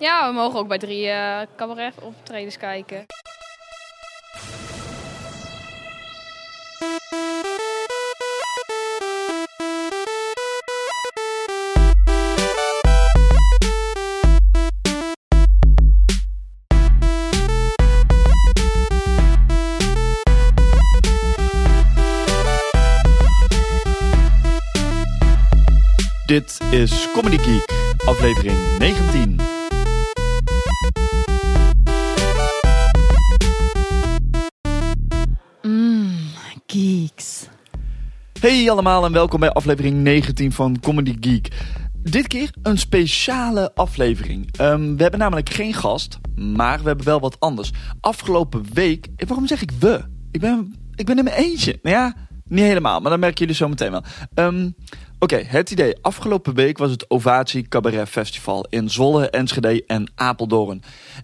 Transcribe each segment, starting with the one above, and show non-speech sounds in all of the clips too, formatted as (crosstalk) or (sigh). Ja, we mogen ook bij drie eh cabaret optredens kijken. Dit is Comedy Geek, aflevering 19. Mmm, geeks. Hey allemaal en welkom bij aflevering 19 van Comedy Geek. Dit keer een speciale aflevering. Ehm, we hebben namelijk geen gast, maar we hebben wel wat anders. Afgelopen week, eh, waarom zeg ik we? Ik ben, ik ben in mijn eentje. Nou ja, niet helemaal, maar dat merken jullie zo meteen wel. Ehm, Oké, het idee. Afgelopen week was het Ovatie Cabaret Festival in Zwolle, Enschede en Apeldoorn.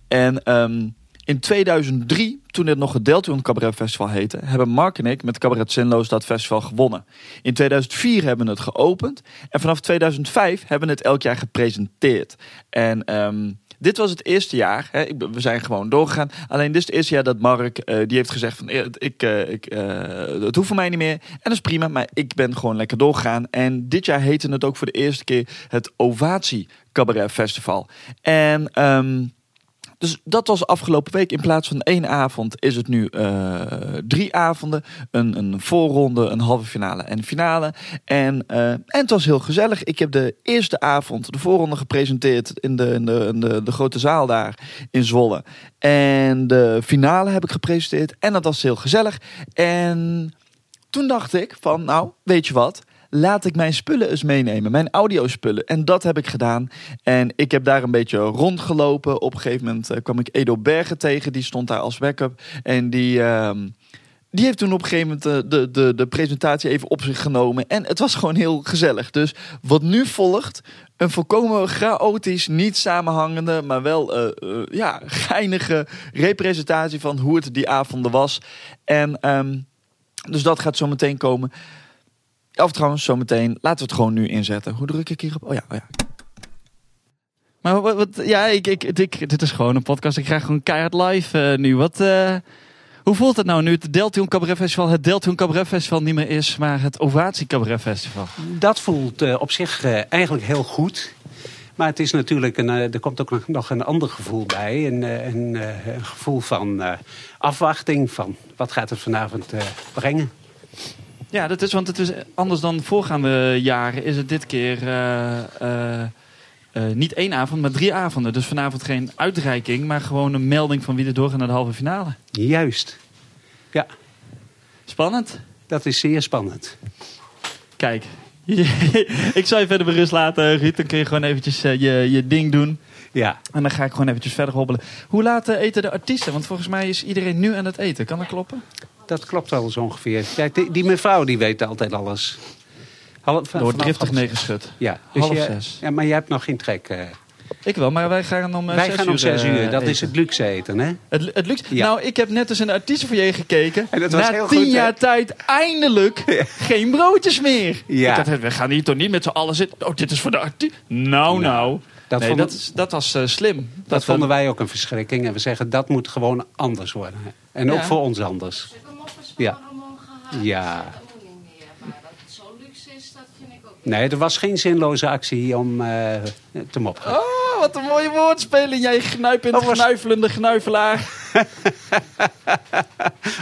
En ehm, In 2003, toen dit nog het Deltion Cabaret Festival heette, hebben Mark en ik met Cabaret Zinloos dat festival gewonnen. In 2004 hebben we het geopend en vanaf 2005 hebben we het elk jaar gepresenteerd. En ehm, dit was het eerste jaar, hè, ik ben- we zijn gewoon doorgegaan. Alleen dit is het eerste jaar dat Mark, eh, die heeft gezegd van, eh, ik, eh, ik, eh, het hoeft voor mij niet meer. En dat is prima, maar ik ben gewoon lekker doorgegaan. En dit jaar heette het ook voor de eerste keer het Ovatie Cabaret Festival. En... ehm, dus dat was afgelopen week. In plaats van één avond is het nu eh, drie avonden. Een, een voorronde, een halve finale en finale. En, eh, en het was heel gezellig. Ik heb de eerste avond, de voorronde, gepresenteerd in de, in de, in de, de grote zaal daar in Zwolle. En de finale heb ik gepresenteerd. En dat was heel gezellig. En toen dacht ik van, nou, weet je wat? Laat ik mijn spullen eens meenemen, mijn audiospullen. En dat heb ik gedaan. En ik heb daar een beetje rondgelopen. Op een gegeven moment eh, kwam ik Edo Bergen tegen. Die stond daar als backup. En die, ehm, die heeft toen op een gegeven moment eh, de, de, de presentatie even op zich genomen. En het was gewoon heel gezellig. Dus wat nu volgt, een volkomen chaotisch, niet samenhangende... maar wel eh, eh, ja, geinige representatie van hoe het die avonden was. En... ehm, dus dat gaat zo meteen komen. Of trouwens, zo meteen. Laten we het gewoon nu inzetten. Hoe druk ik hierop? Oh ja, oh ja. Maar wat, wat- ja, ik, ik, ik- dit is gewoon een podcast. Ik krijg gewoon keihard live eh, nu. Wat, eh, hoe voelt het nou nu het Deltune Cabaret Festival het Deltune Cabaret Festival niet meer is, maar het Ovatie Cabaret Festival? Dat voelt eh, op zich eh, eigenlijk heel goed. Maar het is natuurlijk een, eh, er komt ook nog- nog een ander gevoel bij. Een, eh, een, eh, een gevoel van eh, afwachting van wat gaat het vanavond eh, brengen. Ja, dat is, want het is anders dan voorgaande jaren. Is het dit keer eh, eh, eh, niet één avond, maar drie avonden. Dus vanavond geen uitreiking, maar gewoon een melding van wie er doorgaat naar de halve finale. Juist. Ja, Spannend. dat is zeer spannend. Kijk. (laughs) ik zal je verder berust laten, Ruud. Dan kun je gewoon eventjes eh, je, je ding doen. Ja, En dan ga ik gewoon eventjes verder hobbelen. Hoe laat eh, eten de artiesten? Want volgens mij is iedereen nu aan het eten. Kan dat kloppen? dat klopt wel eens ongeveer. Ja, die, die mevrouw die weet altijd alles. Half, Door vanaf driftig half- neergeschud. Ja, dus half je- zes. Ja, maar jij hebt nog geen trek. eh. Ik wel, maar wij gaan om eh, Wij zes gaan uur, om zes eh, uur. dat is eten. het luxe eten, hè? Het, lu- het lukt. Ja. Nou, ik heb net eens in de artiestenfoyer gekeken. En dat was Na heel tien goed, hè? jaar tijd eindelijk geen broodjes meer. Ja. Ik dacht, we gaan hier toch niet met z'n allen zitten. Oh, dit is voor de artiest. Nou, nou. dat nee, vonden- dat, is- dat was eh, slim. Dat, vonden wij ook een verschrikking. En we zeggen, dat moet gewoon anders worden. En Ja. ook voor ons anders. Ja. Ja. Zo luxe is, dat vind ik ook. Nee, er was geen zinloze actie om eh, te moppen. Oh, wat een mooie woordspeling. Jij gnuipend, Dat was- gnuifelende gnuifelaar.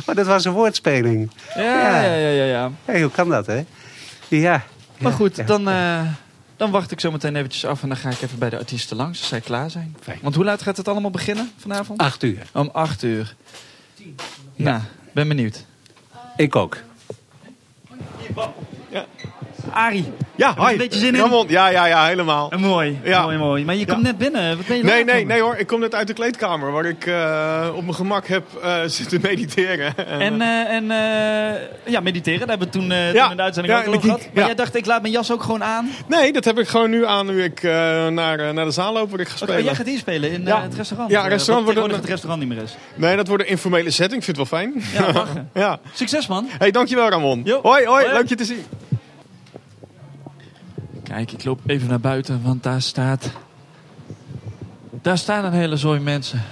Maar dat was een woordspeling. Ja, ja, ja, ja. ja. Hé, hoe kan dat, hè? Ja. Maar Ja, ja. goed, dan, eh, dan wacht ik zo meteen eventjes af en dan ga ik even bij de artiesten langs als zij klaar zijn. Fijn. Want hoe laat gaat het allemaal beginnen vanavond? Acht uur. Om acht uur. Nou, ben benieuwd. Ik ook. Arie, Ja, je hi. een beetje zin in? Eh, Ramon. Ja, ja, ja, helemaal. mooi, Ja. mooi, mooi. Maar je komt net binnen. Wat ben je Nee, laat nee, doen? nee hoor. Ik kom net uit de kleedkamer waar ik eh, op mijn gemak heb eh, (laughs) zitten mediteren. En, eh, en eh, ja, mediteren, daar hebben we toen, eh, toen in de uitzending Ja, ook al over in de gehad. kiek, Maar ja. jij dacht, ik laat mijn jas ook gewoon aan. eh, Nee, dat heb ik gewoon nu aan nu ik eh, naar, eh, naar de zaal loop waar ik ga Oké, jij spelen. gaat hier spelen in eh, Ja. het restaurant. Ja, eh, restaurant wat wordt tegenwoordig ook- het restaurant niet meer is. Nee, dat wordt een informele setting. Ik vind het wel fijn. Ja, (laughs) lachen. Ja. Succes, man. hey, dankjewel Ramon. Jo. Hoi, hoi. Hoi. Leuk je te zien. Kijk, ik loop even naar buiten, want daar staat Daar staan een hele zooi mensen.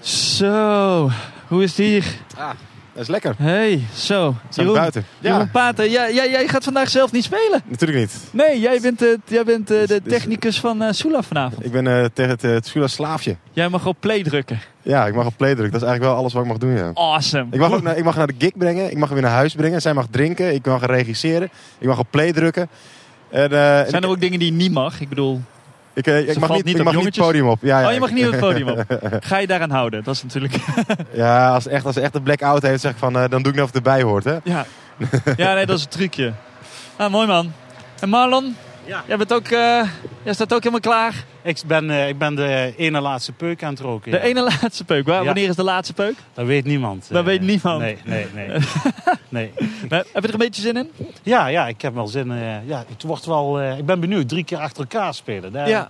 Zo, hoe is het hier? Ah, Dat is lekker. Hey, zo. Zijn we buiten? Jeroen Pater, ja, ja, jij gaat vandaag zelf niet spelen. natuurlijk niet. Nee, jij bent, de- jij bent eh, de Dus- dus- technicus van eh Sula vanavond. Ik ben eh, tegen het, eh, het Sula slaafje. Jij mag op play drukken. Oh. Ja, ik mag op play drukken. Dat is eigenlijk wel alles wat ik mag doen, ja. Awesome. Ik mag, ook naar, ik mag naar de gig brengen. Ik mag hem weer naar huis brengen. Zij mag drinken. Ik mag regisseren. Ik mag op play drukken. En, eh, en Zijn er ook dingen die je niet mag? Ik bedoel, ik, eh, ik Ze mag valt niet, niet ik op mag niet het jongetjes? podium op. Ja, ja, oh, je mag ik- niet op het podium (laughs) op. Ga je daaraan houden? Dat is natuurlijk... Ja, als ze echt, als ze echt een blackout heeft, zeg ik van, eh, dan doe ik nou of het erbij hoort. Hè? Ja. ja, nee, dat is een trucje. Ah, mooi man. En Marlon, Ja. jij, bent ook, eh, jij staat ook helemaal klaar. Ik ben, eh, ik ben de ene laatste peuk aan het roken. De ja. ene laatste peuk. Wa- Ja. Wanneer is de laatste peuk? Dat weet niemand. Dat eh. weet niemand. Nee, nee, nee. (laughs) nee. Maar heb je er een beetje zin in? Ja, ja, ik heb wel zin. eh, ja, het wordt wel, eh, ik ben benieuwd. Drie keer achter elkaar spelen. Daar, Ja,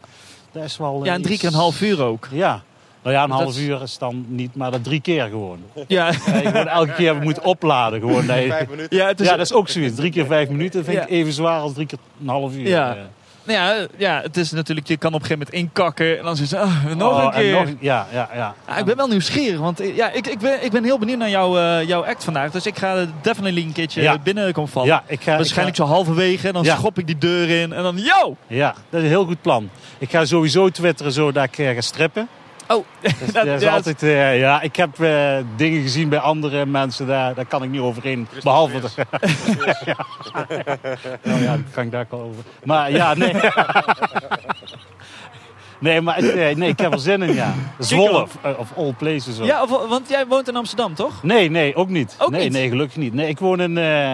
daar is wel, eh, ja en drie iets- keer een half uur ook. Ja. Nou ja, een Dat half is- uur is dan niet, maar dat drie keer gewoon. Ja, (laughs) Ja, je moet elke keer moet opladen gewoon. Nee. Vijf minuten. ja, het is, Ja, dat is ook zoiets. Drie keer vijf minuten vind ik Ja. even zwaar als drie keer een half uur. Ja. eh. nou ja, ja, het is natuurlijk, je kan op een gegeven moment inkakken en dan zit ze, ah, nog Oh, een en keer. nog- ja, ja, ja. Ah, ik ben wel nieuwsgierig, want eh, ja, ik, ik, ben, ik ben heel benieuwd naar jouw eh, jouw act vandaag. Dus ik ga er definitely een keertje Ja. binnen komen vallen. Ja, ik ga, ik ga- Waarschijnlijk zo halverwege en dan Ja. schop ik die deur in en dan, yo! Ja, dat is een heel goed plan. Ik ga sowieso twitteren zo dat ik eh, ga strippen. Oh, (laughs) (laughs) Dus dat- dat is ja, altijd, eh, ja, ik heb eh, dingen gezien bij andere mensen, daar, daar kan ik niet overheen. Behalve. Dat, ja. (laughs) Nou ja, dat kan ik daar wel over. Maar ja, nee. (laughs) nee, maar het, eh, nee, ik heb er zin in, ja. Zwolle, of, eh, of all places. ook. Ja, of- want jij woont in Amsterdam, toch? Nee, nee, ook niet. Ook nee, niet? nee, gelukkig niet. Nee, ik woon in eh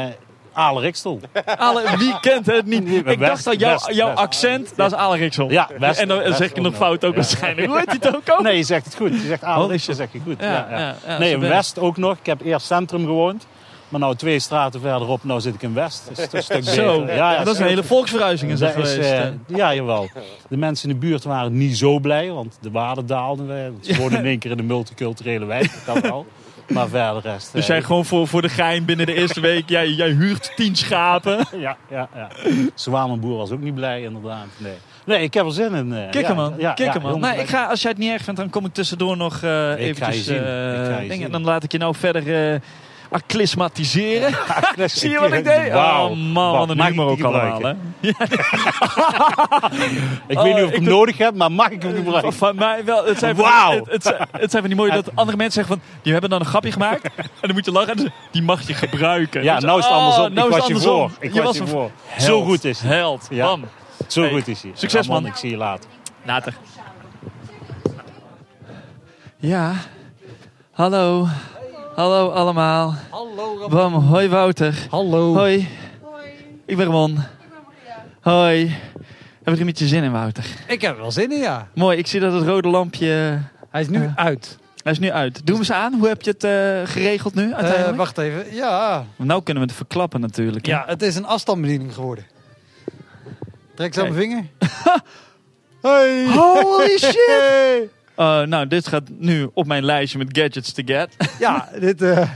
(laughs) Aalrikstel. Ale, wie kent het niet? (laughs) Nee, maar Ik dacht best, dat jouw, best, jouw best. accent, dat is Ale Riksel. Ja, best, en dan best zeg je ook nog nog. fout ook Ja. waarschijnlijk. Hoe (laughs) heet die ook al? Nee, je zegt het goed. Je zegt Aalrikstel, Oh. zeg je goed. Ja, ja, ja, nee, zo in ben ik. West ook nog. Ik heb eerst Centrum gewoond. Maar nou twee straten verderop, nou zit ik in West. Dat is toch een stuk beter. Zo, Ja, ja, dat is een hele volksverhuizing is dat dat is, geweest. eh, eh. ja, jawel. De mensen in de buurt waren niet zo blij, want de waarden daalden. weer. (laughs) Want Ze woonden in één keer in de multiculturele wijk, dat kan wel. Maar verder rest... eh, dus jij gewoon voor, voor de gein binnen de eerste week, jij, jij huurt tien schapen. Ja, ja, ja. Zwamanboer was ook niet blij, inderdaad. Nee, nee ik heb er zin in. eh. Kikker Ja, man, ja, ja, kikker heel man. Nou, blij. ik ga, als jij het niet erg vindt, dan kom ik tussendoor nog eh je eventjes zien. Ik ga je eh dingen. zien. En dan laat ik je nou verder eh acclimatiseren. Zie je wat ik deed? Wauw. Oh man, wat een Mag ik humor die ook allemaal. gebruiken? Hè? (laughs) Ik Oh, weet niet of ik ik hem doe- nodig heb, maar mag ik hem gebruiken? Van mij wel. Het zijn, van- Wauw. het, het, zijn, het zijn van die mooie dat andere mensen zeggen van... Die hebben dan een grapje gemaakt. En dan moet je lachen. en ze- Die mag je gebruiken. Ja, Dan nou is het oh, andersom. nou ik is was je het andersom. voor. Ik Je was je een voor. held. Zo goed is hij. Held. Ja. Man. Zo Hey, goed is hij. succes, Ramon, man. Ik zie je later. Later. Ja. Hallo. Hallo allemaal. Hallo Bam, hoi Wouter. Hallo. Hoi. Ik ben Ramon. Hoi. Heb je er een beetje zin in, Wouter? Ik heb er wel zin in, ja. Mooi, ik zie dat het rode lampje... Hij is nu Eh, uit. Hij is nu uit. Doe hem eens aan. Hoe heb je het eh, geregeld nu uiteindelijk? Eh, wacht even. Ja. Nou kunnen we het verklappen natuurlijk. hè? ja, het is een afstandsbediening geworden. Trek zo mijn (laughs) vinger. (laughs) Holy shit! Eh, nou, dit gaat nu op mijn lijstje met gadgets to get. Ja, dit... eh,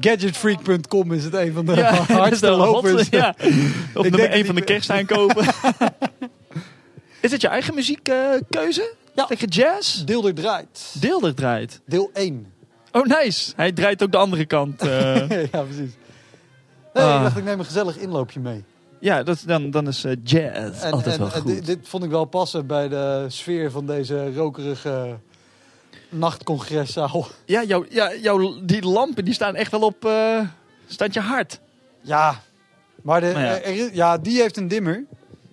Gadgetfreak.com is het een van de (laughs) (laughs) dat is hardste wel hot. lopers. (laughs) Ja. Op denk nummer dat 1 ik van de ben- (laughs) kerstaankopen. Is het je eigen muziekkeuze? Ja. Lekker jazz? Deel er draait. Deelder draait. Deel 1. Oh, nice. Hij draait ook de andere kant. eh. (laughs) ja, precies. Nee, Ah. ik dacht, ik neem een gezellig inloopje mee. ja, dat, dan, dan is eh, jazz En, altijd en, wel eh, goed. Dit, dit vond ik wel passen bij de sfeer van deze rokerige nachtcongreszaal. Ja, jouw- ja, jouw- die lampen die staan echt wel op eh standje hard. Ja, maar de, Maar ja. er- er is- ja, die heeft een dimmer.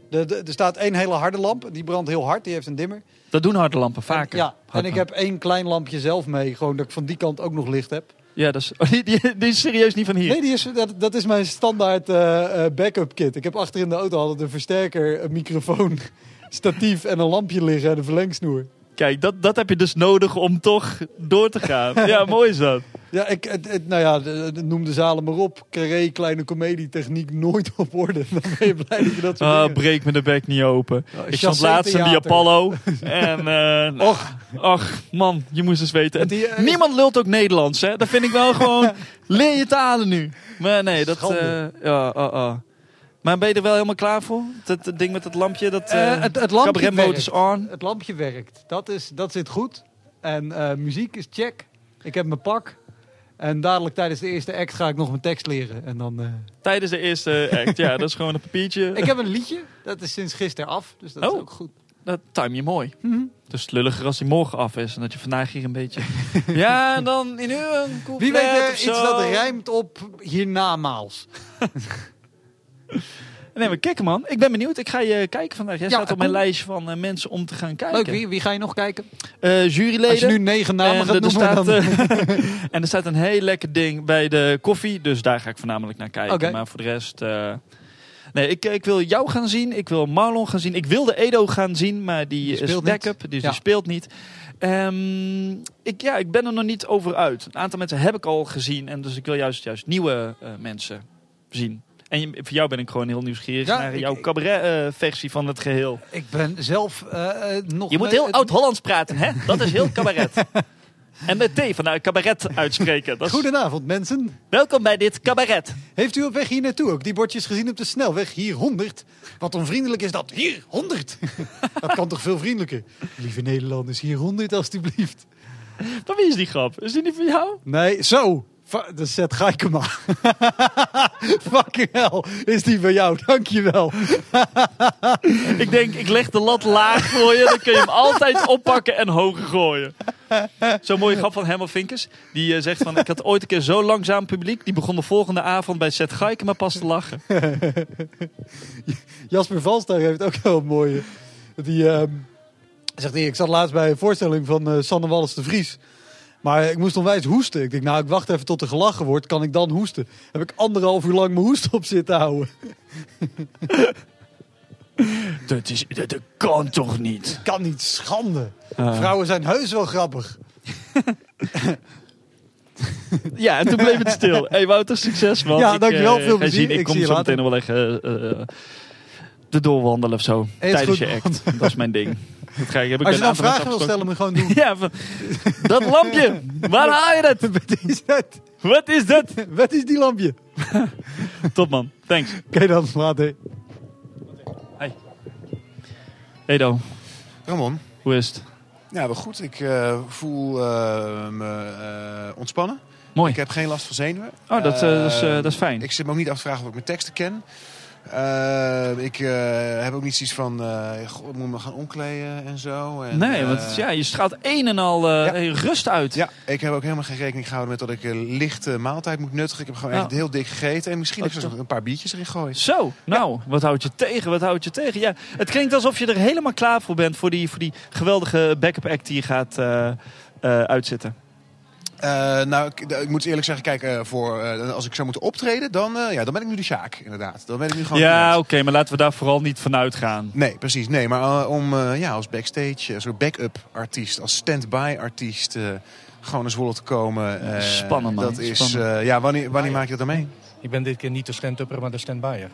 De, de, er staat één hele harde lamp, die brandt heel hard, die heeft een dimmer. Dat doen harde lampen vaker. Ja, en Harde ik heb één klein lampje zelf mee, gewoon dat ik van die kant ook nog licht heb. Ja, dat is, (laughs) oh, die, die, die is serieus niet van hier. Nee, die is, dat, dat is mijn standaard eh, eh, backup kit. Ik heb achter in de auto altijd een versterker, een microfoon, (laughs) statief en een lampje liggen en een verlengsnoer. Kijk, dat, dat heb je dus nodig om toch door te (laughs) gaan. ja, mooi is dat. Ja, ik, het, het- nou ja, de- de- noem de zalen maar op. Carré, kleine comedie, techniek nooit op orde. (laughs) Dan ben je blij dat je dat soort Ah, dingen- Oh, breek me de bek niet open. ik stond chassé laatst in die theater. (laughs) Apollo. En, eh Och, ach, man, je moest eens weten. En Want die, eh, niemand lult ook Nederlands, (laughs) hè. Dat vind ik wel gewoon... Leer je talen nu. Maar nee, dat... Schande. eh, ja, oh, oh. Maar ben je er wel helemaal klaar voor? Dat, dat ding met het lampje, dat Eh, eh, het, het lampje cabaret motors werkt. on. Het lampje werkt. Dat, is, dat zit goed. En eh, muziek is check. Ik heb mijn pak. En dadelijk tijdens de eerste act ga ik nog mijn tekst leren. En dan, eh, Tijdens de eerste act, ja, dat is gewoon een papiertje. Ik heb een liedje. Dat is sinds gisteren af. Dus (laughs) dat Oh. is ook goed. Dat time je mooi. Mhm. Het is lulliger als die morgen af is en dat je vandaag hier een (laughs) beetje... (laughs) ja, en dan in een couplet Wie weet of er iets zo. dat rijmt op hiernamaals. Nee, maar kijk man, ik ben benieuwd. Ik ga je kijken vandaag. Jij Ja, staat op mijn cool. lijstje van eh, mensen om te gaan kijken. Leuk, wie, wie ga je nog kijken? Eh, Als je juryleden. nu negen namen en, er- gaat er noemen, staat, dan... eh, (laughs) en er staat een heel lekker ding bij de koffie. Dus daar ga ik voornamelijk naar kijken. Oké. Maar voor de rest... eh, nee, ik, ik wil jou gaan zien. Ik wil Marlon gaan zien. Ik wilde Edo gaan zien, maar die, Die is speelt backup. Dus Ja. die speelt niet. Ehm, ik, ja, ik ben er nog niet over uit. Een aantal mensen heb ik al gezien. En dus ik wil juist, juist nieuwe eh, mensen zien. En je- voor jou ben ik gewoon heel nieuwsgierig Ja, naar ik- jouw ik- cabaret-versie van het geheel. Ik ben zelf eh, eh, nog... Je moet met- heel het- oud-Hollands praten, hè? Dat is heel (laughs) cabaret. En met T van eh, cabaret uitspreken. Dat is- Goedenavond, mensen. Welkom bij dit cabaret. Heeft u op weg hier naartoe ook die bordjes gezien op de snelweg? Hier 100. Wat onvriendelijk is dat. Hier 100. (laughs) dat kan toch veel vriendelijker. Lieve Nederlanders, hier 100 alstublieft. Van wie is die grap? Is die niet van jou? Nee, zo. Va- De Seth Gaikema. (laughs) Fucking hell. Is die van jou? Dankjewel. Ik denk, ik leg de lat laag voor je. Dan kun je hem altijd oppakken en hoger gooien. Zo'n mooie grap van Herman Vinkers. Die eh, zegt van, ik had ooit een keer zo langzaam publiek. Die begon de volgende avond bij Seth Geiken maar pas te lachen. (laughs) Jasper Valstar heeft ook wel een mooie. Die ehm, zegt, "Hey, ik zat laatst bij een voorstelling van eh, Sanne Wallis de Vries. Maar ik moest onwijs hoesten. Ik denk, nou, ik wacht even tot er gelachen wordt. Kan ik dan hoesten? Heb ik anderhalf uur lang mijn hoest op zitten houden. (laughs) Dat, is, dat, dat kan toch niet? Eh. Kan niet, schande. Eh. Vrouwen zijn heus wel grappig. Ja, en toen bleef het (laughs) stil. hey, Wouter, succes man. Ja, Ik, dankjewel, eh, veel ga je plezier. zien. Ik, Ik kom zie je zo later. meteen nog wel even eh, eh, de doorwandelen of zo. Hey, het is tijdens goed, je act. Dat is mijn ding. (laughs) Dat ga ik, heb ik Als je bij een dan aantal vragen wil mensen afgestoken. stellen, moet je gewoon doen. (laughs) Ja, van, dat lampje. Waar haal je dat? (laughs) Wat is dat? Wat is dat? Wat is die lampje? (laughs) Top man, thanks. Oké dan, later. Edo, Ramon. hoe is het? Ja, wel goed. Ik eh, voel eh, me eh, ontspannen. Mooi. Ik heb geen last van zenuwen. Oh, dat, eh, dat, is, eh, Eh, dat is fijn. Ik zit me ook niet af te vragen of ik mijn teksten ken. Eh, ik eh, heb ook niet zoiets van, eh goh, ik moet me gaan omkleden en zo. En, nee, eh, want ja, je straalt een en al eh, rust uit. Ja, ik heb ook helemaal geen rekening gehouden met dat ik een lichte maaltijd moet nuttigen. Ik heb gewoon Ja. echt heel dik gegeten. En misschien Dat heb ik zelfs nog een paar biertjes erin gooien. Zo, nou, wat houdt je tegen? Wat houdt je tegen? Ja, het klinkt alsof je er helemaal klaar voor bent voor die, voor die geweldige backup act die je gaat eh, eh, uitzitten. Eh, nou, ik, ik moet eerlijk zeggen, kijk, eh, voor, eh, als ik zou moeten optreden, dan, eh, ja, dan ben ik nu de Sjaak, inderdaad. Dan ben ik nu gewoon ja, iemand. oké, maar laten we daar vooral niet van uitgaan. Nee, precies. Nee, maar eh, om eh, ja, als backstage, eh, zo'n backup artiest, als stand-by artiest, eh, gewoon naar Zwolle te komen. eh, Spannend, man. Dat is, Spannend. eh, ja, wanneer, wanneer maak je dat dan mee? Ik ben dit keer niet de stand-upper, maar de stand-byer.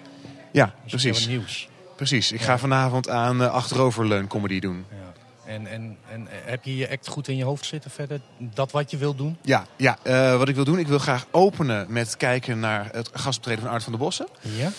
Ja, Dat is precies. weer wat nieuws. Precies. Ik ga vanavond aan eh, achteroverleun comedy doen. Ja. En, en, en eh, heb je je act goed in je hoofd zitten verder? Dat wat je wilt doen? Ja, ja eh, wat ik wil doen, ik wil graag openen met kijken naar het gastoptreden van Art van der Bossen. Ja?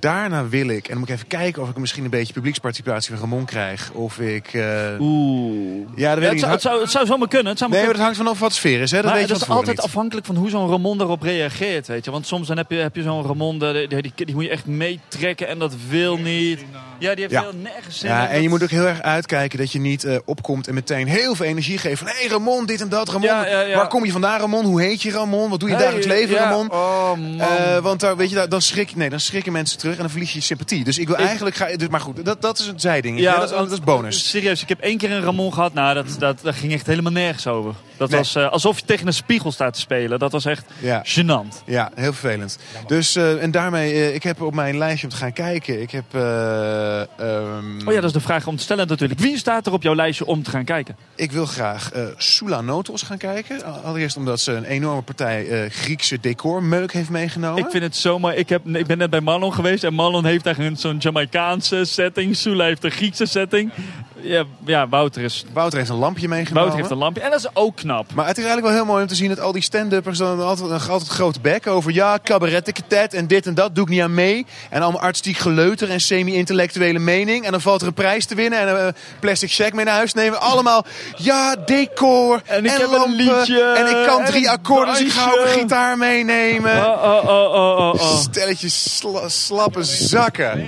Daarna wil ik, en dan moet ik even kijken of ik misschien een beetje publieksparticipatie van Ramon krijg. Of ik. eh, Oeh. ja, dat Ja, weet ik het, niet. zou, het, zou, het zou zomaar kunnen. Het zou maar Nee, maar kunnen. dat hangt vanaf wat de sfeer is. Hè? Dat maar weet je dat is van tevoren altijd niet. afhankelijk van hoe zo'n Ramon daarop reageert, weet je. Want soms dan heb je, heb je zo'n Ramon, die, die, die, die moet je echt meetrekken en dat wil niet. Ja, die heeft Ja. heel nergens zin Ja, in. en je Dat- moet ook heel erg uitkijken dat je niet eh, opkomt en meteen heel veel energie geeft. Van, hé hey Ramon, dit en dat, Ramon. Ja, ja, ja. Waar kom je vandaan, Ramon? Hoe heet je, Ramon? Wat doe je Hey, dagelijks leven, ja. Ramon? Oh, man. Eh, want daar, weet je, daar- dan, schrik, nee, dan schrikken mensen terug en dan verlies je sympathie. Dus ik wil Ik- eigenlijk... Ga, dus, maar goed, dat, dat is een zijding. Ja, dat, is, dat is bonus. Serieus, ik heb één keer een Ramon gehad. Nou, dat, dat, dat ging echt helemaal nergens over. Dat Nee. was eh, alsof je tegen een spiegel staat te spelen. Dat was echt Ja. gênant. Ja, heel vervelend. Dus, eh, en daarmee, eh, ik heb op mijn lijstje om te gaan kijken. Ik heb... eh, ehm, Oh ja, dat is de vraag om te stellen natuurlijk. Wie staat er op jouw lijstje om te gaan kijken? Ik wil graag eh Sula Notos gaan kijken. Allereerst omdat ze een enorme partij eh, Griekse decormeuk heeft meegenomen. Ik vind het zomaar... Ik, heb, ik ben net bij Marlon geweest en Marlon heeft daar een- zo'n Jamaicaanse setting. Sula heeft een Griekse setting. Ja, ja, Wouter is... Wouter heeft een lampje meegenomen. Wouter heeft een lampje. En dat is ook knap. Maar het is eigenlijk wel heel mooi om te zien dat al die stand-uppers dan altijd een altijd groot bek over. Ja, cabarettenketet en dit en dat doe ik niet aan mee. En allemaal artistiek geleuter en semi-intellectuele mening. En dan valt er een prijs te winnen en een eh, plastic check mee naar huis te nemen. Allemaal ja, decor en, ik heb een lampen. liedje en ik kan en drie een akkoorden, dus ik ga ook een dansje. gitaar meenemen. Oh, oh, oh, oh, oh, oh. Stelletje sla- slappe zakken.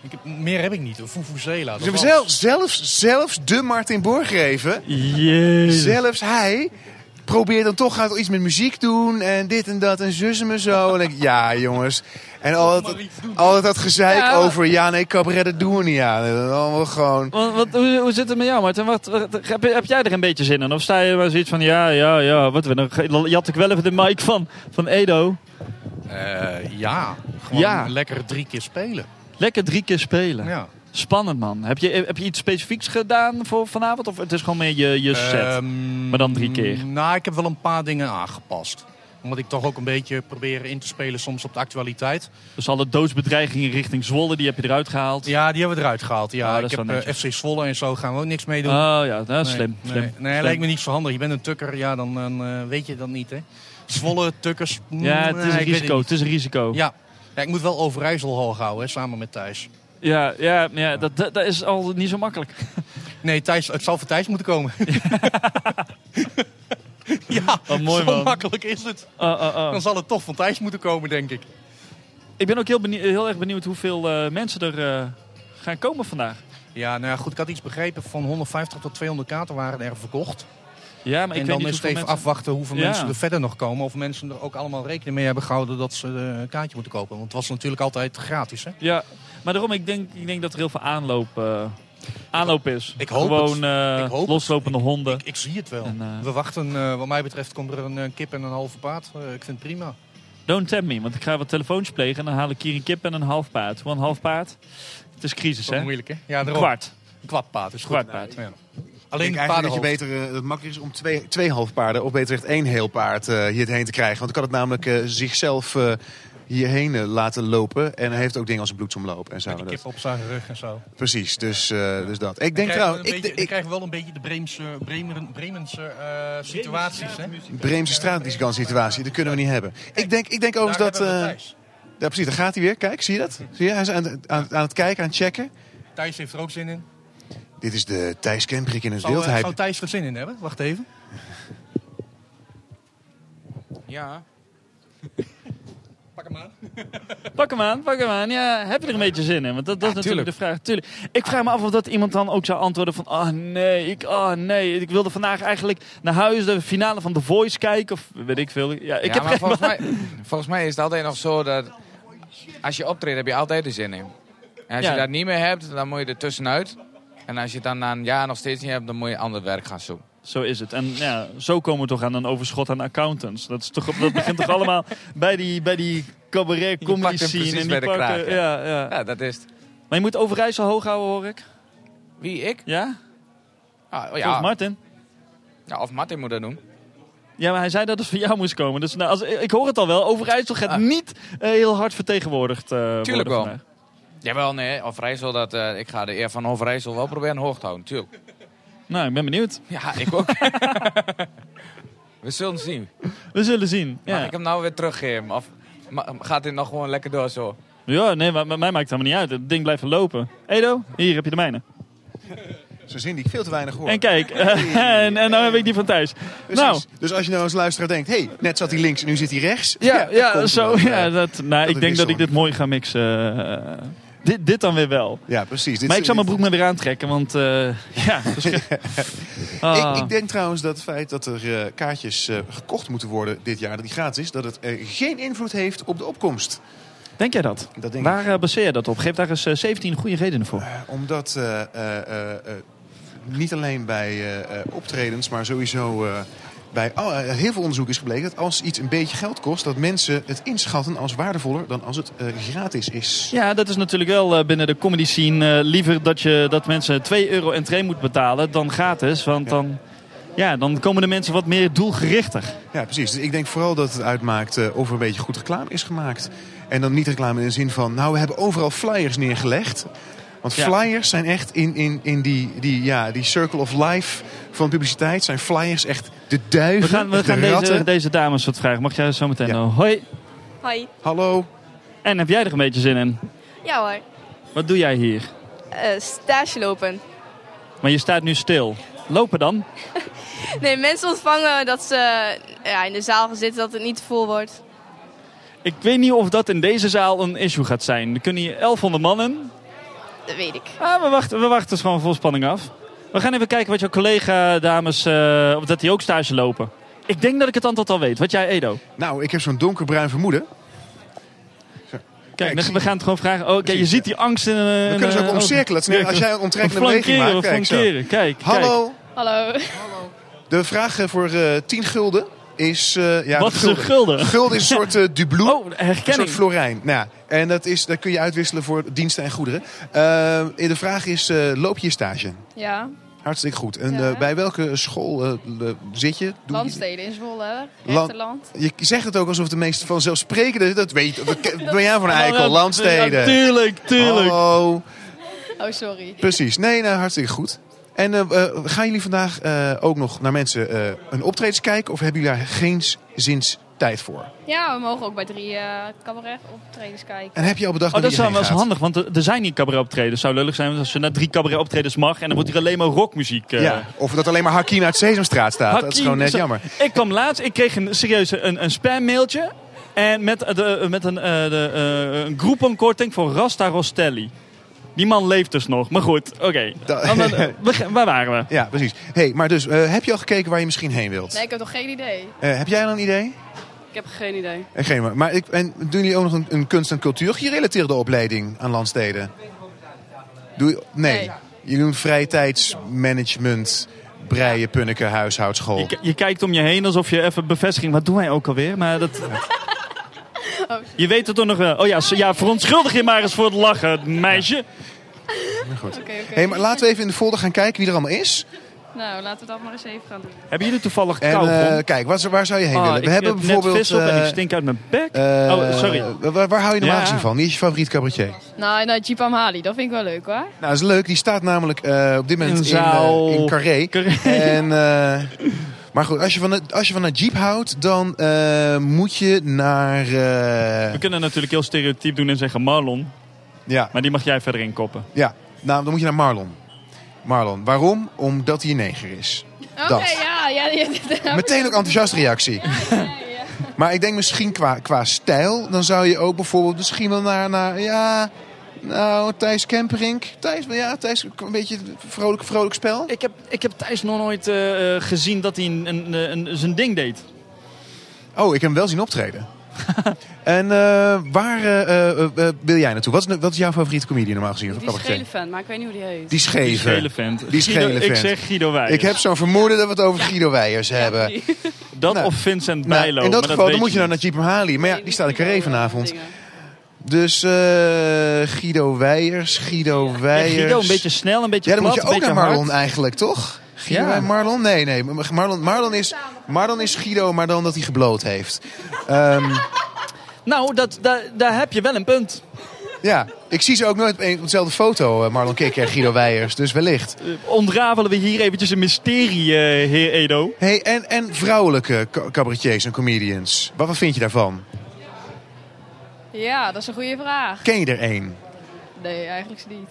Ik heb- meer heb ik niet. Een Fufuzela. dat Dus was- zelf, zelfs, zelfs de Martin Borgreven, Jezus. zelfs hij probeert dan toch gaat iets met muziek doen en dit en dat en zus en me zo. En ik, ja jongens. En al dat, al dat- dat gezeik Ja, maar- over, ja nee, cabaret dat doen we niet aan. Dat is Allemaal gewoon... Want, want hoe, hoe zit het met jou, Martin? Wat, wat- heb, heb jij er een beetje zin in? Of sta je maar zoiets van, ja, ja, ja, wat we nog... Jat ik wel even de mic van, van Edo. Eh, ja, gewoon Ja. lekker drie keer spelen. Lekker drie keer spelen. Ja. Spannend, man. Heb je, heb je iets specifieks gedaan voor vanavond? Of het is gewoon meer je, je set? Ehm, maar dan drie keer. Nou, ik heb wel een paar dingen aangepast. Omdat ik toch ook een beetje probeer in te spelen soms op de actualiteit. Dus alle doodsbedreigingen richting Zwolle, die heb je eruit gehaald. Ja, die hebben we eruit gehaald. Ja, Ah, dat ik is heb wel eh, FC Zwolle en zo gaan we ook niks mee doen. Oh ja, dat is Nee, slim, Nee, slim, nee, slim. lijkt me niet zo handig. Je bent een tukker, ja, dan eh, weet je dat niet, hè. Zwolle, tukkers... mm, Ja, het nee, is een ik weet risico. niet. Het is een risico. Ja. ja, ik moet wel Overijssel hoog houden, hè, samen met Thijs. Ja, ja, ja dat, dat, dat is al niet zo makkelijk. (laughs) Nee, Thijs, het zal voor Thijs moeten (laughs) komen. ja, Wat mooi, zo man. makkelijk is het. Oh, oh, oh. Dan zal het toch van Thijs moeten komen, denk ik. Ik ben ook heel, benieu- heel erg benieuwd hoeveel eh, mensen er eh, gaan komen vandaag. Ja, nou ja, goed, ik had iets begrepen. Van 150 tot 200 kaarten waren er verkocht. Ja, maar ik en weet dan niet is het hoeveel even mensen- afwachten hoeveel Ja. mensen er verder nog komen. Of mensen er ook allemaal rekening mee hebben gehouden dat ze eh, een kaartje moeten kopen. Want het was natuurlijk altijd gratis, hè? Ja, maar daarom, ik denk, ik denk dat er heel veel aanloop, eh, aanloop is. ik hoop Gewoon het. eh, Ik hoop het. loslopende honden. Ik zie het wel. En, eh, We wachten, eh, wat mij betreft, komt er een eh, kip en een halve paard. Eh, ik vind het prima. Don't tempt me, want ik ga wat telefoons plegen en dan haal ik hier een kip en een half paard. Hoe een half paard? Het is crisis, Dat hè? is moeilijk, hè? Ja, een daarom. kwart. Een kwart paard is goed. Kwart paard. Ja. Alleen Alleen ik een eigenlijk dat paardenhoofd. je beter, eh, dat het makkelijker is om twee, twee halfpaarden of beter echt één heel paard eh, hierheen te krijgen. Want dan kan het namelijk eh, zichzelf eh, hierheen eh, laten lopen. En hij heeft ook dingen als een bloedsomloop en zo. Met die Dat- kip op zijn rug en zo. Precies, dus, eh, dus dat. Ik denk krijgen trouwens, we een ik, beetje- ik, dan krijgen we wel een beetje de Breemse, Bremer, Bremense eh, situaties. Hè? Breemse straatmuzikant-situatie, dat kunnen we niet hebben. Ik denk, ik denk overigens dat... Daar hebben we eh, Thijs. ja, precies, daar gaat hij weer. Kijk, zie je dat? Zie je? Hij is aan, het- aan, het- aan het kijken, aan het checken. Thijs heeft er ook zin in. Dit is de Thijs Kemprik in het Zou, wild. eh, Hij, zou Thijs er zin in hebben? Wacht even. Ja. Pak hem aan. Pak hem aan, pak hem aan. Ja, heb je er een beetje zin in? Want dat, Ah, dat is natuurlijk de vraag. Tuurlijk. Ik vraag me af of dat iemand dan ook zou antwoorden van... Ah nee, ik, ah nee, ik wilde vandaag eigenlijk naar huis de finale van The Voice kijken. Of weet ik veel. Ja, ik ja, heb maar geen- volgens mij, volgens mij is het altijd nog zo dat als je optreedt heb je altijd de zin in. En als Ja. je dat niet meer hebt, dan moet je er tussenuit. En als je het dan na een jaar nog steeds niet hebt, dan moet je ander werk gaan zoeken. Zo is het. En ja, zo komen we toch aan een overschot aan accountants. Dat, is toch, dat begint toch allemaal bij die, bij die cabaret Die comedy pakt hem scene. precies en bij die de pakken- kraag, ja, ja. ja. Ja, dat is het. Maar je moet Overijssel hoog houden, hoor ik. Wie, ik? Ja? Ah, oh Volgens ja. Martin. Eh, ja, of Martin moet dat doen. Ja, maar hij zei dat het van jou moest komen. Dus nou, als, ik hoor het al wel. Overijssel gaat niet eh, heel hard vertegenwoordigd eh worden Ah. Tuurlijk wel. vandaag. Jawel, nee, Overijssel, dat, eh, ik ga de eer van Overijssel wel proberen hoog te houden, tuurlijk. Nou, ik ben benieuwd. Ja, ik ook. We zullen zien. We zullen zien. Mag Ja, ik hem nou weer teruggeven? Of ma- gaat dit nog gewoon lekker door zo? (laughs) ja nee, maar maar mij maakt het helemaal niet uit. Het ding blijft lopen. Edo, hier heb je de mijne. zo'n zin die ik veel te weinig hoor. En kijk, (laughs) en, en nou heb ik die van thuis. Precies. Nou, Dus als je nou als luisteraar denkt, hé, hey, net zat hij links en nu zit hij rechts. ja, dat komt ja, er zo, wel, eh, ja dat, nou, ik het denk dat ik wisselt. dit mooi ga mixen. eh, dit, dit dan weer wel. Ja, precies. Dit maar is- ik zal mijn dit- broek maar weer aantrekken, want eh, ja. dat is- Ah. Ik, ik denk trouwens dat het feit dat er eh, kaartjes eh, gekocht moeten worden dit jaar, dat die gratis is, dat het eh, geen invloed heeft op de opkomst. Denk jij dat? Dat denk Waar eh, baseer je dat op? Geef daar eens eh, 17 goede redenen voor. Omdat eh, eh, eh, eh, niet alleen bij eh, eh, optredens, maar sowieso eh, bij al- eh, heel veel onderzoek is gebleken dat als iets een beetje geld kost, dat mensen het inschatten als waardevoller dan als het eh, gratis is. Ja, dat is natuurlijk wel eh, binnen de comedy scene eh, liever dat, je, dat mensen 2 euro entree moet betalen dan gratis. Want dan, ja, dan komen de mensen wat meer doelgerichter. Ja, precies. Dus ik denk vooral dat het uitmaakt eh, of er een beetje goed reclame is gemaakt. En dan niet reclame in de zin van, nou, we hebben overal flyers neergelegd. Want flyers zijn echt in, in, in die, die, ja, die circle of life van publiciteit... zijn flyers echt de duiven, We gaan, we de gaan ratten. deze, deze dames wat vragen. Mag jij zo meteen nou? Hoi. Hoi. Hallo. En heb jij er een beetje zin in? Ja hoor. Wat doe jij hier? Eh, stage lopen. Maar je staat nu stil. Lopen dan? Nee, mensen ontvangen dat ze eh, ja, in de zaal gaan zitten, dat het niet te vol wordt. Ik weet niet of dat in deze zaal een issue gaat zijn. Er kunnen hier 1100 mannen. Dat weet ik. Ah, we wachten, we wachten dus gewoon vol spanning af. We gaan even kijken wat jouw collega dames, eh, of dat die ook stage lopen. Ik denk dat ik het antwoord al weet. Wat jij, Edo? Nou, ik heb zo'n donkerbruin vermoeden. Kijk, we gaan het gewoon vragen. Oh, kijk, je ziet die eh, oh, angst in een... kunnen ze ook omcirkelen. Het is net als jij een onttrekkende beweging maakt. Kijk, zo. Kijk, kijk. Hallo. Hallo. (laughs) De vraag eh, voor eh 10 gulden is... eh, ja, Wat is een gulden? Oh, Gulden (laughs) is een soort eh dubloe. herkenning. Een soort florijn. Nou, ja, en dat, is, dat kun je uitwisselen voor diensten en goederen. Eh, de vraag is, eh, loop je stage? Ja, Hartstikke goed. En eh, bij welke school eh, le- zit je? Doe je- landsteden in Zwolle, hè? Lan- Rechterland. Je zegt het ook alsof de meest vanzelfsprekende... Dat weet Wat ben (laughs) jij van Ja, eikel? ja, Landsteden. tuurlijk, tuurlijk. Hallo. Oh, sorry. Precies. Nee, nou, hartstikke goed. En eh, eh, gaan jullie vandaag eh, ook nog naar mensen eh, een optredens kijken? Of hebben jullie daar geen zins tijd voor? Ja, we mogen ook bij drie eh, cabaret optredens kijken. En heb je al bedacht Oh, dat waar is wel die wel eens heen handig, want er er zijn niet cabaretoptredens. Het zou lullig zijn als je naar drie cabaretoptredens mag... en dan wordt hier alleen maar rockmuziek... eh, Ja, of dat alleen maar Hakim uit Sesamstraat staat. dat Hakim, is dus- gewoon net zo- (laughs) jammer. Ik kwam laatst, ik kreeg een serieus een, een spammailtje. En met, eh, de, met een, eh de, eh, een groepenkorting voor Rasta Rostelli. Die man leeft dus nog, maar goed, oké. Dan- dan- eh, (laughs) we gaan- Waar waren we? Ja, precies. hey, maar dus, eh, heb je al gekeken waar je misschien heen wilt? Nee, ik heb nog geen idee. Eh, heb jij al een idee? Ik heb geen idee. Eh, Geen, maar maar ik, en doen jullie ook nog een, een kunst- en cultuurgerelateerde opleiding aan landsteden? Doe je, nee. Jullie doen vrije tijdsmanagement, breien, punniken, huishoudschool. Je, je kijkt om je heen alsof je even bevestiging... Wat doen wij ook alweer? Maar dat... Je weet het toch nog wel. Oh ja, s- ja, verontschuldig je maar eens voor het lachen, meisje. Maar goed. Oké, oké. Hey, maar laten we even in de folder gaan kijken wie er allemaal is. Nou, laten we dat maar eens even gaan doen. Hebben jullie toevallig En kauwgom? eh, kijk, wat, waar zou je heen Ah, willen? ik We hebben heb net bijvoorbeeld. vis op en eh, ik stink uit mijn bek. eh, Oh, sorry. Waar, waar hou je normaal Ja. gezien van? Wie is je favoriet cabaretier? Nou, nou, Jeep Amhali, dat vind ik wel leuk hoor. Nou, dat is leuk. Die staat namelijk eh, op dit moment in, In zaal- eh, in Carré. En, eh, maar goed, als je, van het, als je van een jeep houdt, dan eh, moet je naar... eh, We kunnen natuurlijk heel stereotyp doen en zeggen Marlon. Ja. Maar die mag jij verder inkoppen. ja, nou, dan moet je naar Marlon. Marlon. Waarom? Omdat hij een neger is. Oké, ja, ja, ja, ja. Meteen ook enthousiaste reactie. (laughs) Maar ik denk misschien qua, qua stijl, dan zou je ook bijvoorbeeld misschien wel naar, naar ja, nou, Thijs Kemperink. Thijs, ja, Thijs, een beetje vrolijk, vrolijk spel. Ik heb, ik heb Thijs nog nooit eh, eh, gezien dat hij een, een, een- zijn ding deed. Oh, ik heb hem wel zien (laughs) optreden. en eh, waar eh, eh, eh, wil jij naartoe? Wat is, wat is jouw favoriete comedian normaal gezien? of Die is cabaretier? gele fan, maar ik weet niet hoe die heet. Die scheve. Die schele vent. Die schele Guido- ik vent. zeg Guido Weijers. Ik heb zo'n vermoeden dat we het over Guido Weijers hebben. Dat of Vincent Nou, Bijlo. in dat maar geval dan weet moet je niet. nou naar Jeep Hali. Maar ja, die staat in Carré vanavond. Dus eh, Guido Weijers, Guido Weijers. Guido, een beetje snel, een beetje Ja, dan moet plat, je ook een beetje naar Marlon hard. eigenlijk, toch? Guido Ja. en Marlon? Nee, nee. Marlon, Marlon, is, Marlon is Guido, maar dan dat hij gebloot heeft. Ehm, (laughs) Nou, dat, daar, daar heb je wel een punt. ja, ik zie ze ook nooit op een- op dezelfde foto, eh, Marlon Kikker en Guido Weijers. Dus wellicht. Eh, ontrafelen we hier eventjes een mysterie, eh, heer Edo. hey, en, en vrouwelijke ca- cabaretiers en comedians. Wat, wat vind je daarvan? Ja, dat is een goede vraag. Ken je er één? Nee, eigenlijk ze niet.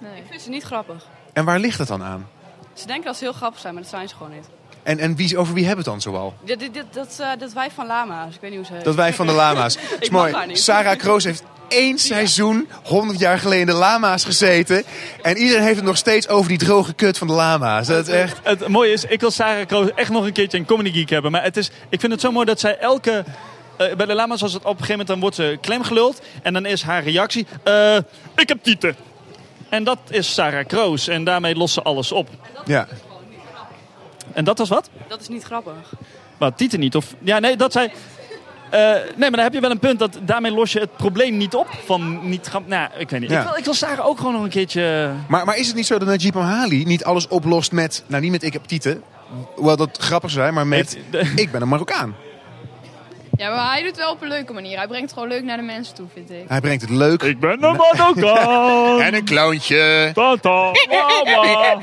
Ik vind ze niet grappig. En waar ligt het dan aan? Ze denken dat ze heel grappig zijn, maar dat zijn ze gewoon niet. En, en wie, over wie hebben we het dan zoal? Dat, dit- dit- dat, eh, dat wijf van Lama's, ik weet niet hoe ze heet. Dat wij van de (laughs) lama's. Ik is mag mooi. haar niet. Sarah Kroos heeft één seizoen, 100 jaar geleden, in de lama's gezeten. En iedereen heeft het nog steeds over die droge kut van de lama's. Dat is echt... Het mooie is, ik wil Sarah Kroos echt nog een keertje een Comedy Geek hebben. Maar het is, ik vind het zo mooi dat zij elke... eh, bij de lama's was het op een gegeven moment, dan wordt ze klemgeluld. En dan is haar reactie, eh, ik heb tieten. En dat is Sarah Kroos. En daarmee lost ze alles op. Ja. En dat was wat? Dat is niet grappig. Wat, tieten niet? Of, ja, nee, dat zij... eh, nee, maar dan heb je wel een punt. Dat, daarmee los je het probleem niet op. Van niet... grap- Nou, ik weet niet. Ja. Ik, wil, ik wil Sarah ook gewoon nog een keertje... Maar, maar is het niet zo dat Najib Amhali niet alles oplost met... Nou, niet met ik heb tieten. Wel, dat grappig zou zijn, maar met... Ik ben een Marokkaan. Ja, maar hij doet het wel op een leuke manier. Hij brengt het gewoon leuk naar de mensen toe, vind ik. Hij brengt het leuk. Ik ben een Madoka. (laughs) en een clowntje. (laughs) Tata, mama.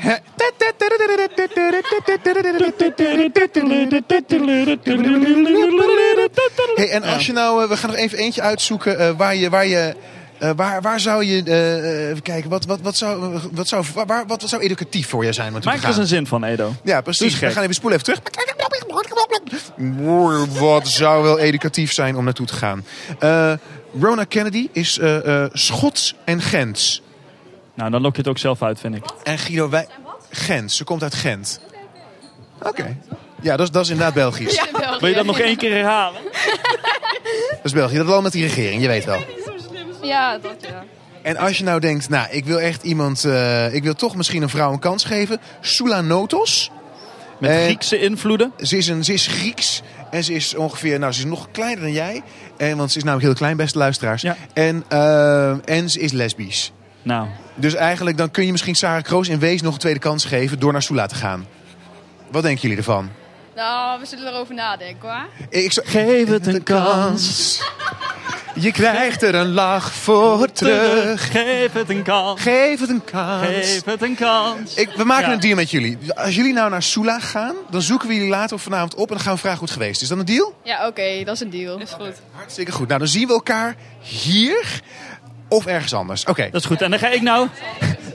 Hey, en als je nou, eh, we gaan nog even eentje uitzoeken eh, waar je, waar je, eh, waar, waar zou je, eh, even kijken, wat, wat, wat zou, wat zou, waar- waar, wat zou educatief voor je zijn? om naartoe te Maak er eens gaan? een zin van, Edo. Ja, Doe eens precies. gek. We gaan even spoelen even terug. Wat zou wel educatief zijn om naartoe te gaan? Eh, Rona Kennedy is eh, eh, Schots en Gens. Nou, dan lok je het ook zelf uit, vind ik. En Guido Wij... Gens, ze komt uit Gent. Oké. Ja, dat is, dat is inderdaad Belgisch. Ja. Wil je dat nog één keer herhalen? (laughs) Dat is België. Dat wel met die regering, je weet wel. Ja, dat ja. En als je nou denkt, nou, ik wil echt iemand... eh, ik wil toch misschien een vrouw een kans geven. Soulanotos. Met Griekse invloeden? Ze is, een, ze is Grieks. En ze is ongeveer... Nou, ze is nog kleiner dan jij. En, want ze is namelijk heel klein, beste luisteraars. En, eh, en ze is lesbisch. Nou. Dus eigenlijk, dan kun je misschien Sarah Kroos in Wees nog een tweede kans geven... door naar Sula te gaan. Wat denken jullie ervan? Nou, we zullen erover nadenken, hoor. Ik Geef het een kans. Je krijgt er een lach voor terug. Geef het een kans. Geef het een kans. Geef het een kans. Ik, we maken Ja. een deal met jullie. Als jullie nou naar Sula gaan, dan zoeken we jullie later of vanavond op en dan gaan we vragen hoe het geweest is. Is dat een deal? Ja, oké, dat is een deal. Is goed. Hartstikke goed. Nou, dan zien we elkaar hier of ergens anders. Oké. Dat is goed. En dan ga ik nou...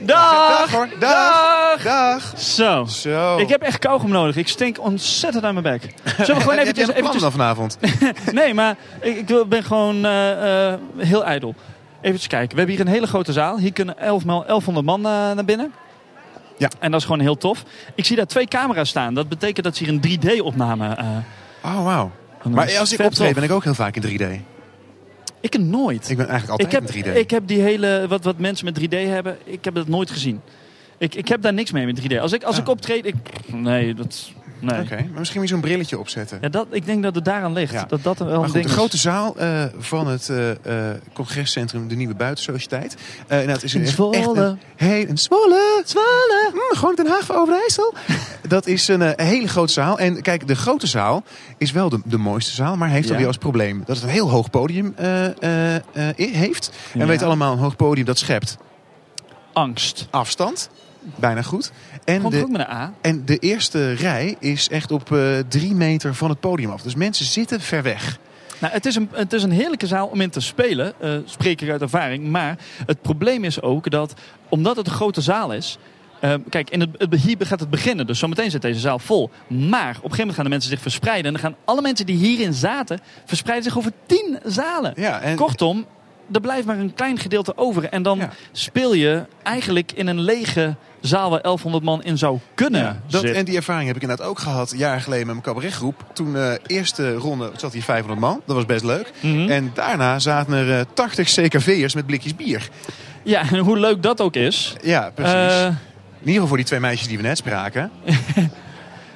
Dag! (laughs) Dag hoor. Dag! Dag! Zo. Zo. Ik heb echt kauwgom nodig. Ik stink ontzettend aan mijn bek. (laughs) Zullen we gewoon Heb je eventjes... een plan eventjes- dan vanavond? (laughs) nee, maar ik, ik wil- ben gewoon eh, eh, heel ijdel. Even kijken. We hebben hier een hele grote zaal. Hier kunnen 11 maal 1100 man eh, naar binnen. Ja. En dat is gewoon heel tof. Ik zie daar twee camera's staan. Dat betekent dat ze hier een 3D-opname... oh, wauw. Maar als ik optreed, ben ik ook heel vaak in 3D. Ik heb nooit. Ik ben eigenlijk ik heb, altijd in 3D. Ik heb die hele, wat, wat mensen met 3D hebben, ik heb dat nooit gezien. Ik, ik heb daar niks mee met 3D. Als ik, als ik optreed, ik, nee, dat, nee. Ah. Oké, maar misschien moet je zo'n brilletje opzetten. Ja, dat, ik denk dat het daaraan ligt. Dat dat wel een Maar goed, ding de is. grote zaal eh, van het eh, eh, congrescentrum De Nieuwe Buitensociëteit. Eh inderdaad, is In een, echt- Zwolle. Echt een, heel- een Zwolle. Zwolle. Mm, gewoon Den Haag van Overijssel. Dat is een eh, hele grote zaal. En kijk, de grote zaal is wel de, de mooiste zaal. Maar heeft Ja. alweer als probleem dat het een heel hoog podium eh, eh, eh, i- heeft. En Ja. we weten allemaal, een hoog podium dat schept. Angst. Afstand. Bijna goed. En Komt de, ook met een A. en de eerste rij is echt op eh, drie meter van het podium af. Dus mensen zitten ver weg. Nou, het, is een, het is een heerlijke zaal om in te spelen, eh, spreek ik uit ervaring. Maar het probleem is ook dat, omdat het een grote zaal is. eh, kijk, in het, het- hier gaat het beginnen, dus zometeen zit deze zaal vol. Maar op een gegeven moment gaan de mensen zich verspreiden. En dan gaan alle mensen die hierin zaten, verspreiden zich over tien zalen. Kortom, er blijft maar een klein gedeelte over. En dan speel je eigenlijk in een lege zaal waar 1100 man in zou kunnen Ja, dat, zitten. en die ervaring heb ik inderdaad ook gehad, jaren geleden met mijn cabaretgroep. Toen eh eerste ronde zat hier 500 man, dat was best leuk. Mhm. En daarna zaten er eh, 80 CKV'ers met blikjes bier. Ja, en hoe leuk dat ook is. Ja, precies. Eh. In ieder geval voor die twee meisjes die we net spraken. (laughs)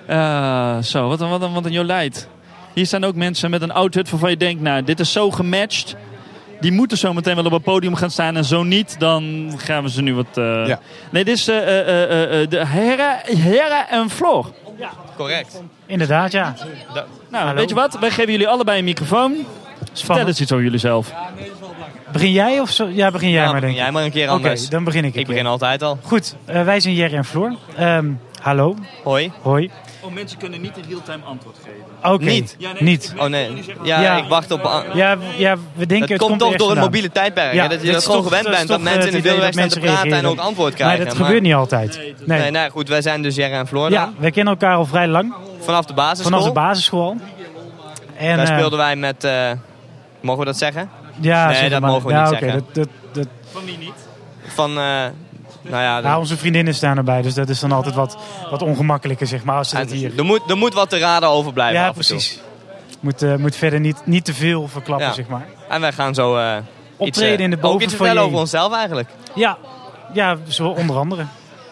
Eh, zo, wat een, wat een, wat een Jolijt. Hier staan ook mensen met een outfit waarvan je denkt, nou, dit is zo gematcht. Die moeten zo meteen wel op het podium gaan staan. En zo niet, dan gaan we ze nu wat... eh, Nee, dit is eh, eh, eh, eh, de heren, heren en Floor. Correct. Inderdaad, ja. Nou, weet je wat? Wij geven jullie allebei een microfoon. Dus Vertel eens iets over jullie zelf. Begin jij of zo? Ja, begin jij maar, denk begin jij ik. maar een keer Oké, anders. dan begin ik een Ik begin keer. altijd al. Goed, eh, wij zijn Jerry en Floor. Ehm, hallo. Hoi. Hoi. Oh, mensen kunnen niet in real-time antwoord geven. Oké. Niet? Niet. Oh nee. Ja, ik wacht op... a- Ja, w- ja, we denken... Het Het komt toch ergens door het vandaan. mobiele tijdperk, hè, dat je dat is gewoon toch- gewend is bent, dat toch mensen het in de idee wilde dat weg staan te mensen praten en reageren. ook antwoord krijgen, Nee, dat maar- gebeurt niet altijd. Nee. Nee. nee, goed. Wij zijn dus Jerry en Floor Ja, dan. wij kennen elkaar al vrij lang. Vanaf de basisschool. Vanaf de basisschool. En, Daar eh, speelden wij met... eh, mogen we dat zeggen? Ja, Nee, zeg dat maar. mogen we ja, niet oké, zeggen. Dat, dat, dat, Van... eh, nou ja, ja, dan- onze vriendinnen staan erbij, dus dat is dan altijd wat, wat ongemakkelijker, zeg maar, als ze dat hier... er, moet, er moet wat te raden overblijven Ja, af en toe. precies. Moet, eh, moet verder niet, niet te veel verklappen, Ja. zeg maar. En wij gaan zo... eh, iets, Optreden eh, in Ook de iets bovenfoyer. vertellen over onszelf eigenlijk. Ja, ja zo onder andere.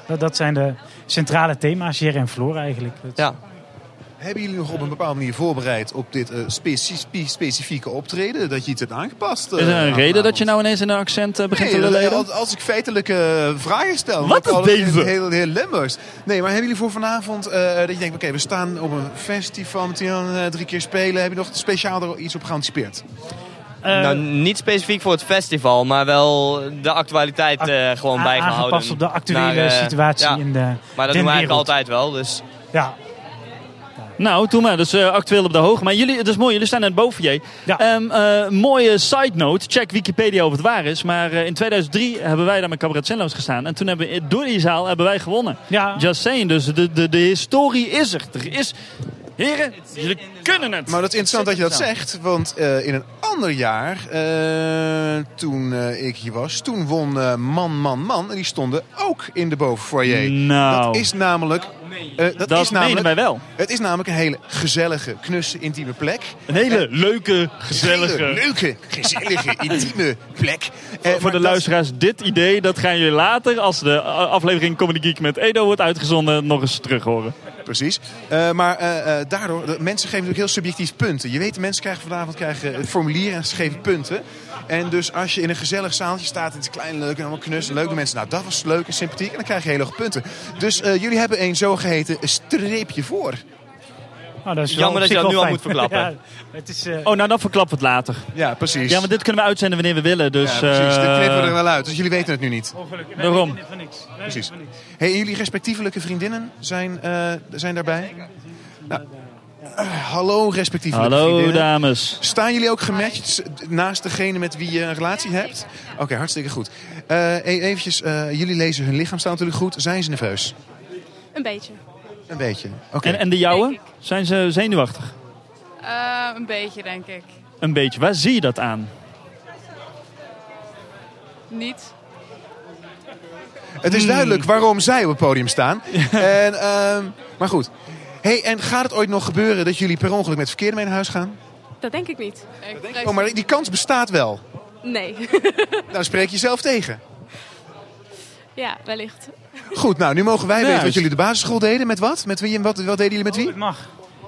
Dat, dat zijn de centrale thema's, Jerry en Floor eigenlijk. Dat- Ja. Hebben jullie nog op een bepaalde manier voorbereid op dit eh, speci- spe- specifieke optreden? Dat je iets hebt aangepast? eh, Is er een aan- reden dat je nou ineens in een accent eh, begint Nee, te leren? als, als ik feitelijke vragen Wat stel. dan is wordt het deze? Heel, heel Limburgs. Nee, maar hebben jullie voor vanavond eh, dat je denkt... Oké, we staan op een festival met die dan, eh, drie keer spelen. Heb je nog speciaal er iets op geanticipeerd? Eh, nou, niet specifiek voor het festival, maar wel de actualiteit eh, gewoon a- bijgehouden. aangepast op de actuele eh, situatie ja. in de- Maar dat doen den we eigenlijk wereld. altijd wel, dus... Ja. Nou, toen maar. Dus eh, actueel op de hoogte. Maar jullie, dat is mooi, jullie staan net boven je. Ehm, eh, mooie side note. Check Wikipedia of het waar is. Maar eh, in 2003 hebben wij daar met Cabaret Zenloos gestaan. En toen hebben we, door die zaal hebben wij gewonnen. Ja. Just saying. Dus de, de, de historie is er. Er is... Heren, jullie kunnen het. Maar dat is interessant dat je dat Het zit in de zegt, want eh, in een ander jaar, eh, toen eh, ik hier was, toen won eh, Man Man Man en die stonden ook in de bovenfoyer. Nou. Dat is namelijk... eh, dat Dat is namelijk, menen wij wel. Het is namelijk een hele gezellige, knusse, intieme plek. Een hele leuke, gezellige... leuke, (laughs) gezellige, intieme plek. Eh, Voor de luisteraars, dit idee, dat gaan jullie later, als de eh, aflevering Comedy Geek met Edo wordt uitgezonden, nog eens terug horen. Precies. Eh, maar eh, eh, daardoor, de, mensen geven natuurlijk heel subjectief punten. Je weet, de mensen krijgen vanavond krijgen het formulier en ze geven punten. En dus als je in een gezellig zaaltje staat, het is klein, leuk en allemaal knus, en leuke mensen. Nou, dat was leuk en sympathiek en dan krijg je heel hoge punten. Dus eh, jullie hebben een zogeheten streepje voor. Nou, dat is wel Jammer op dat je zich wel dat nu al fijn. moet verklappen. (laughs) Ja, het is, eh, Oh, nou dan verklappen we het later. Ja, precies. Ja, want dit kunnen we uitzenden wanneer we willen. Dus, ja, precies. eh, Dit knippen we er wel uit, dus jullie weten het nu niet. Ongelukkig. Wij Daarom. weten Van niks. Precies. Hey, en jullie respectievelijke vriendinnen zijn, eh, zijn daarbij? Nou, eh, hallo respectievelijke Hallo, vriendinnen. dames. Staan jullie ook gematcht naast degene met wie je een relatie hebt? Oké, hartstikke goed. Even eventjes, eh, jullie lezen hun lichaam staan natuurlijk goed. Zijn ze nerveus? Een beetje. Een beetje. Oké. en, en de jouwe? Zijn ze zenuwachtig? Eh, een beetje, denk ik. Een beetje. Waar zie je dat Nou, aan? Niet. Het is duidelijk waarom zij op het podium staan. en, ehm, maar goed. Hey, en gaat het ooit nog gebeuren dat jullie per ongeluk met verkeerde mee naar huis gaan? Dat denk ik niet. Ik vrees- Oh, maar die kans bestaat wel. Nee. (laughs) Nou, spreek jezelf tegen. ja, wellicht. Goed, nou, nu mogen wij Ja, weten wat juist. jullie de basisschool deden. Met wat? Met wie en wat, wat deden jullie met wie? mag.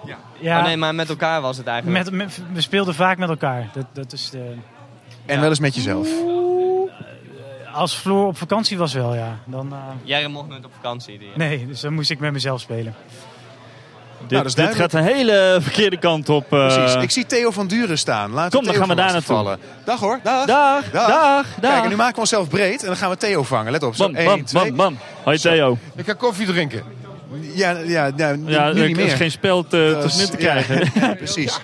Ja. Ja. Oh, nee, maar met elkaar was het eigenlijk. Met, met- we speelden vaak met elkaar. Dat, dat is de, En wel eens met jezelf. Eh, als Floor op vakantie was wel, ja. Dan, eh, Jij mocht nooit op vakantie. Die... nee, dus dan moest ik met mezelf spelen. Dit, dat is dit duidelijk. gaat een hele (laughs) verkeerde kant op. eh. Precies. Ik zie Theo van Duren staan. Laten Kom, we dan Theo gaan we van daar laten naartoe. vallen. Dag hoor. Dag. Dag, dag, dag. Kijk, en nu maken we onszelf breed en dan gaan we Theo vangen. Let op. Zo, Bam, één, bam, twee. bam, bam. Hoi Theo. Ik ga koffie drinken. Ja, ja, ja, nu- Ja, nu er niet is meer. geen spel te- te Dat snit te ja, krijgen. ja, (laughs) precies.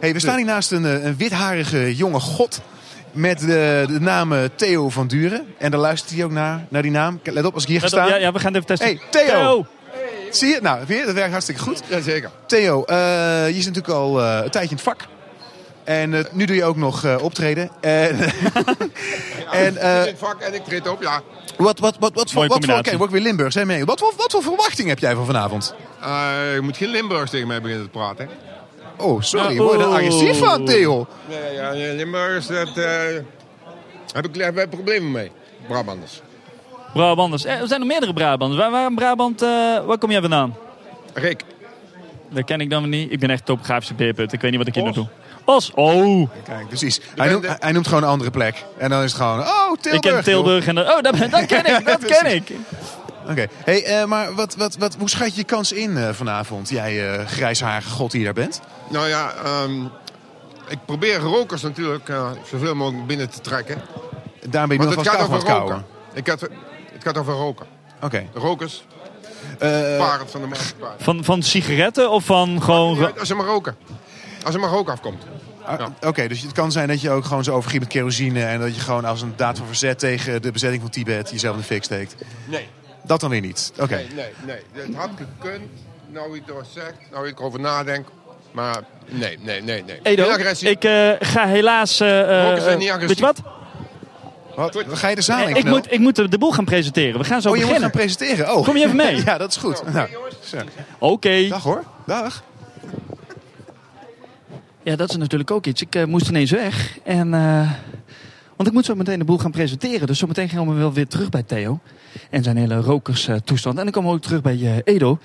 Hey, we staan hier naast een, eh, een witharige jonge god met eh, de naam eh, Theo van Duren. En daar luistert hij ook naar, naar die naam. Let op, als ik hier ga Let op, staan. ja, ja, we gaan het even testen. Hey, Theo! Theo! Zie je? het? Nou, weer, dat werkt hartstikke goed. Jazeker. Theo, eh, je zit natuurlijk al eh, een tijdje in het vak. En eh, nu doe je ook nog eh, optreden. (laughs) En, en eh, ik vak en ik treed op, ja. wat, wat, wat, Mooie wat, voor, wat voor... Oké, combinatie. word ik weer Limburg. Zeg mee. Wat, voor- wat voor verwachting heb jij van vanavond? Eh, je moet geen Limburgs tegen mij beginnen te praten. hè. Oh, sorry. Word je daar agressief van, Theo? Nee, ja, nee, Limburgs, dat eh, heb ik daar heb ik problemen mee. Brabanders. Brabanders. Eh, Er zijn er meerdere Brabanders. Waar, waar in Brabant, eh, waar kom jij vandaan? Rick. Dat ken ik dan weer niet. Ik ben echt topografische beerput. Ik weet niet wat ik hier nog doe. Os. Oh. Kijk, precies. Hij noemt, hij noemt gewoon een andere plek. En dan is het gewoon, oh, Tilburg. ik ken joh. Tilburg en dan- oh, dat, ben- dat ken (laughs) ik, dat ken ik. Oké, hey, eh, maar wat, wat, wat, hoe schat je je kans in eh, vanavond? Jij eh grijsharige god die je daar bent. Ah, Nou ja, ehm, ik probeer rokers natuurlijk eh, zoveel mogelijk binnen te trekken. Daar ben je Want het nog wel gaat kaal van over het kouwen. roken. Ik had, het gaat over roken. Oké. Rokers, Eh, parend van de maatschappij. (laughs) Van, van sigaretten of van gewoon... Ja, Als je maar roken. Als er maar rook afkomt. Ah, Oké, dus het kan zijn dat je ook gewoon zo overgiet met kerosine... en dat je gewoon als een daad van verzet tegen de bezetting van Tibet jezelf in de fik steekt. Nee. Dat dan weer niet. Oké. Nee, nee, nee. Het had gekund, nou wie het er zegt, nou ik erover nadenk. Maar nee, nee, nee, nee. Edo, Heel agressief. ik eh, ga helaas... eh, eh, Roken zijn niet agressief. weet je wat? Wat? Ga je de zaal in, Eh, ik, Knel? moet, ik moet de de boel gaan presenteren. We gaan zo Oh, je moet beginnen. gaan presenteren. Oh. Kom je even mee? (laughs) ja, dat is goed. Nou, zo. Oké. Dag hoor. Dag. Ja, dat is natuurlijk ook iets. Ik eh, moest ineens weg. En, eh, want ik moet zo meteen de boel gaan presenteren. Dus zo meteen gaan we wel weer terug bij Theo. En zijn hele rokerstoestand. en dan komen we ook terug bij eh, Edo.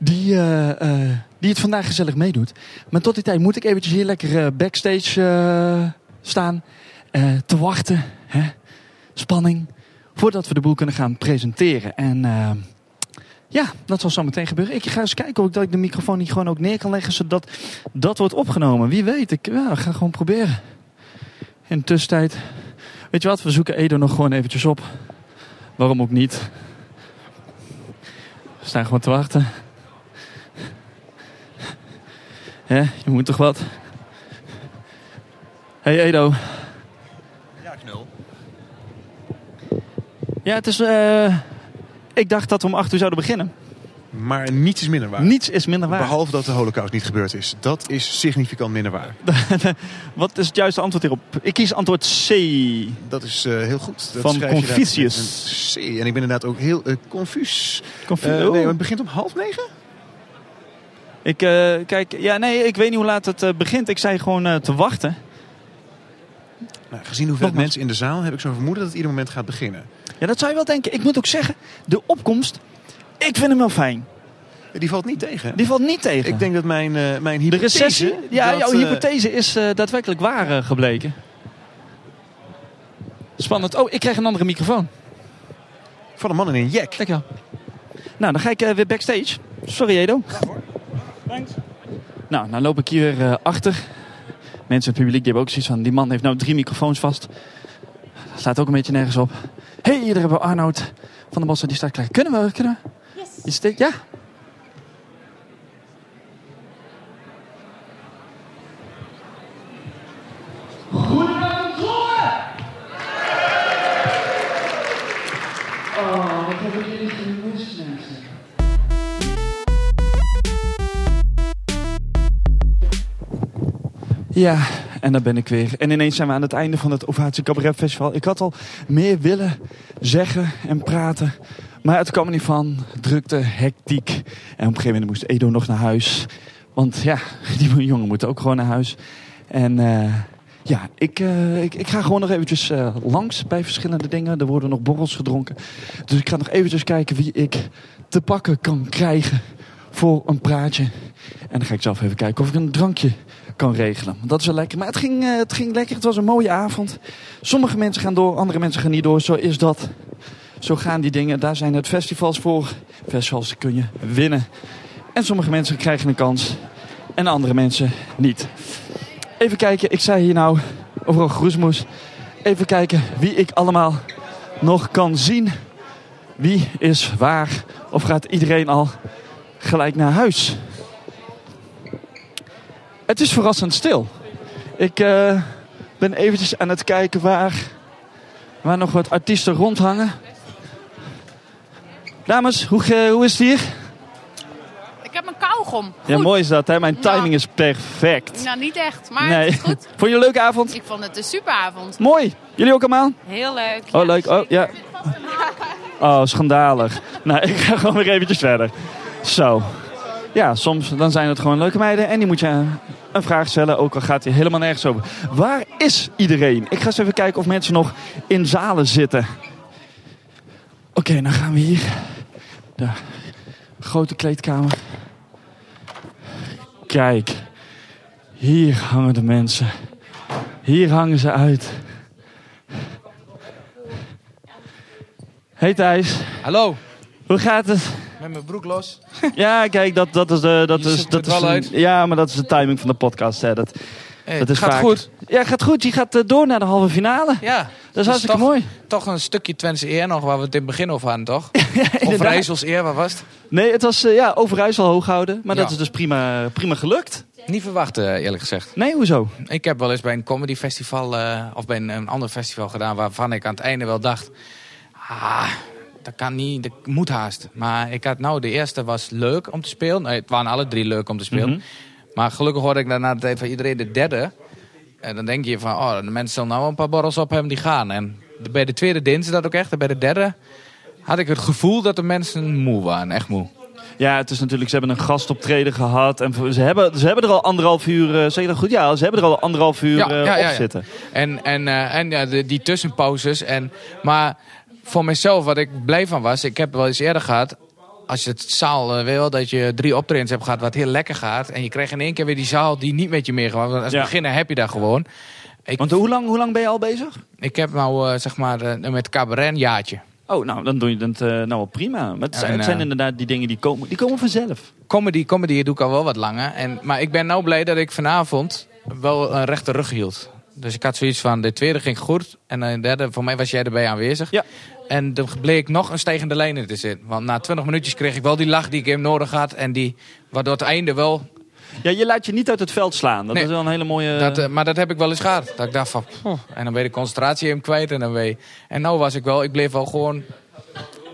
die, eh, eh, die het vandaag gezellig meedoet. Maar tot die tijd moet ik eventjes hier lekker eh, backstage eh, staan. eh, te wachten. Hè? Spanning. Voordat we de boel kunnen gaan presenteren. En eh, ja, dat zal zo meteen gebeuren. Ik ga eens kijken of ik, dat ik de microfoon niet gewoon ook neer kan leggen. Zodat dat wordt opgenomen. Wie weet. Ik ja, ik ga gewoon proberen. In de tussentijd. Weet je wat? We zoeken Edo nog gewoon eventjes op. Waarom ook niet? We staan gewoon te wachten. Hè, je moet toch wat? Hey Edo. Ja, knul. Ja, het is. eh, ik dacht dat we om acht uur zouden beginnen. Maar niets is minder waar. Niets is minder waar. Behalve dat de holocaust niet gebeurd is. Dat is significant minder waar. (laughs) Wat is het juiste antwoord hierop? Ik kies antwoord C. Dat is eh, heel goed. Dat Van schrijf je daar Confucius. met een C. En ik ben inderdaad ook heel eh, confus. Confu- Eh, oh. nee, want het begint om half negen? Ik eh, kijk, ja, nee, ik weet niet hoe laat het eh, begint. Ik zei gewoon eh, te wachten. Nou, gezien hoeveel mensen in de zaal heb ik zo'n vermoeden dat het ieder moment gaat beginnen. Ja, dat zou je wel denken. Ik moet ook zeggen, de opkomst, ik vind hem wel fijn. Eh, Die valt niet tegen. Die valt niet tegen. Ik denk dat mijn, eh, mijn hypothese... de recessie, ja, dat, jouw eh, hypothese is eh, daadwerkelijk waar eh, gebleken. Spannend. Oh, ik krijg een andere microfoon. Van een man in een jack. Dankjewel. Nou, dan ga ik eh, weer backstage. Sorry, Edo. Nou, nou loop ik hier weer eh, achter. Mensen in het publiek die hebben ook zoiets van... die man heeft nou drie microfoons vast. Dat slaat ook een beetje nergens op. Hé, hey, hier hebben we Arnoud van de Bossen. Die staat klaar. Kunnen we? Kunnen we? Is dit, ja? Oh, wat hebben jullie gemist, mensen? Ja, en daar ben ik weer. En ineens zijn we aan het einde van het Ovatie Cabaret Festival. Ik had al meer willen zeggen en praten. Maar het kwam er niet van. Drukte, hectiek. En op een gegeven moment moest Edo nog naar huis. Want ja, (laughs) die jongen moet ook gewoon naar huis. En eh, ja, ik, eh, ik, ik ga gewoon nog eventjes eh, langs bij verschillende dingen. Er worden nog borrels gedronken. Dus ik ga nog eventjes kijken wie ik te pakken kan krijgen voor een praatje. En dan ga ik zelf even kijken of ik een drankje kan regelen. Want Dat is wel lekker. Maar het ging, eh, het ging lekker. Het was een mooie avond. Sommige mensen gaan door, andere mensen gaan niet door. Zo is dat. Zo gaan die dingen. Daar zijn het festivals voor. Festivals kun je winnen. En sommige mensen krijgen een kans. En andere mensen niet. Even kijken. Ik zei hier nou overal groesmoes. Even kijken wie ik allemaal nog kan zien. Wie is waar? Of gaat iedereen al gelijk naar huis? Het is verrassend stil. Ik eh, ben eventjes aan het kijken waar, waar nog wat artiesten rondhangen. Dames, hoe, ge- hoe is het hier? Ik heb een kauwgom. Ja, mooi is dat, hè? Mijn timing is perfect. Nou, niet echt, maar nee. het is goed. (laughs) Vond je een leuke avond? Ik vond het een superavond. Mooi. Jullie ook allemaal? Heel leuk. Oh, leuk. Oh, ja. Oh, schandalig. nou, (laughs) ik ga gewoon weer eventjes verder. Zo. Ja, soms dan zijn het gewoon leuke meiden. En die moet je eh, een vraag stellen, ook al gaat die helemaal nergens over. Waar is iedereen? Ik ga eens even kijken of mensen nog in zalen zitten. Oké, dan gaan we hier. De grote kleedkamer. Kijk. Hier hangen de mensen. Hier hangen ze uit. Hey Thijs. Hallo. Hoe gaat het? Met mijn broek los. (laughs) Ja, kijk, dat, dat is de. Dat Je is, zoekt dat het is wel een- uit. Ja, maar dat is de timing van de podcast. Hè. Dat, Hey, dat is gaat vaak- goed. Ja, gaat goed. Je gaat eh, door naar de halve finale. Ja. dus Dat is hartstikke toch, mooi. Toch een stukje Twentse eer nog, waar we het in het begin over (laughs) hadden, toch? of Rijssels eer, wat was het? Nee, het was eh, ja, Overijssel hoog houden. Maar dat Ja. is dus prima, prima gelukt. Niet verwacht, eh, eerlijk gezegd. Nee, hoezo? Ik heb wel eens bij een comedyfestival eh, of bij een, een ander festival gedaan waarvan ik aan het einde wel dacht... Ah, dat kan niet, dat moet haast. Maar ik had nou, de eerste was leuk om te spelen. Nee, het waren alle drie leuk om te spelen. Mhm. Maar gelukkig hoorde ik daarna de tijd van iedereen de derde. En dan denk je van, oh, de mensen zullen nou wel een paar borrels op hebben die gaan. En de- bij de tweede dinsdag dat ook echt. En bij de derde had ik het gevoel dat de mensen moe waren. Echt moe. Ja, het is natuurlijk, ze hebben een gastoptreden gehad. En ze hebben, ze hebben er al anderhalf uur, eh, zeg je dat goed? Ja, ze hebben er al anderhalf uur eh, op zitten. En, en, eh, en ja, de- die tussenpauzes. En, maar voor mezelf, wat ik blij van was, ik heb wel eens eerder gehad. als je het zaal eh, wil, dat je drie optredens hebt gehad wat heel lekker gaat. En je krijgt in één keer weer die zaal die niet met je meegaat. Want als Ja. beginner heb je daar gewoon. Want hoe lang, hoe lang ben je al bezig? Ik heb nou eh, zeg maar eh, met cabaret een jaartje. Oh, nou, dan doe je dat eh, nou wel prima. Maar het, Ja, zijn, en, het zijn eh, inderdaad die dingen die komen, die komen vanzelf. Comedy, comedy doe ik al wel wat langer. En, maar ik ben nou blij dat ik vanavond wel een rechte rug hield. Dus ik had zoiets van, de tweede ging goed. En eh, de derde, voor mij was jij erbij aanwezig. Ja. En er bleek nog een stijgende lijn in te zitten. Want na 20 minuutjes kreeg ik wel die lach die ik hem nodig had. En die, waardoor het einde wel... Ja, je laat je niet uit het veld slaan. Dat is wel een hele mooie... Dat, eh, maar dat heb ik wel eens gehad. Dat ik dacht van, poeh, en dan ben je de concentratie hem kwijt. En dan ben je... En nou was ik wel, ik bleef wel gewoon...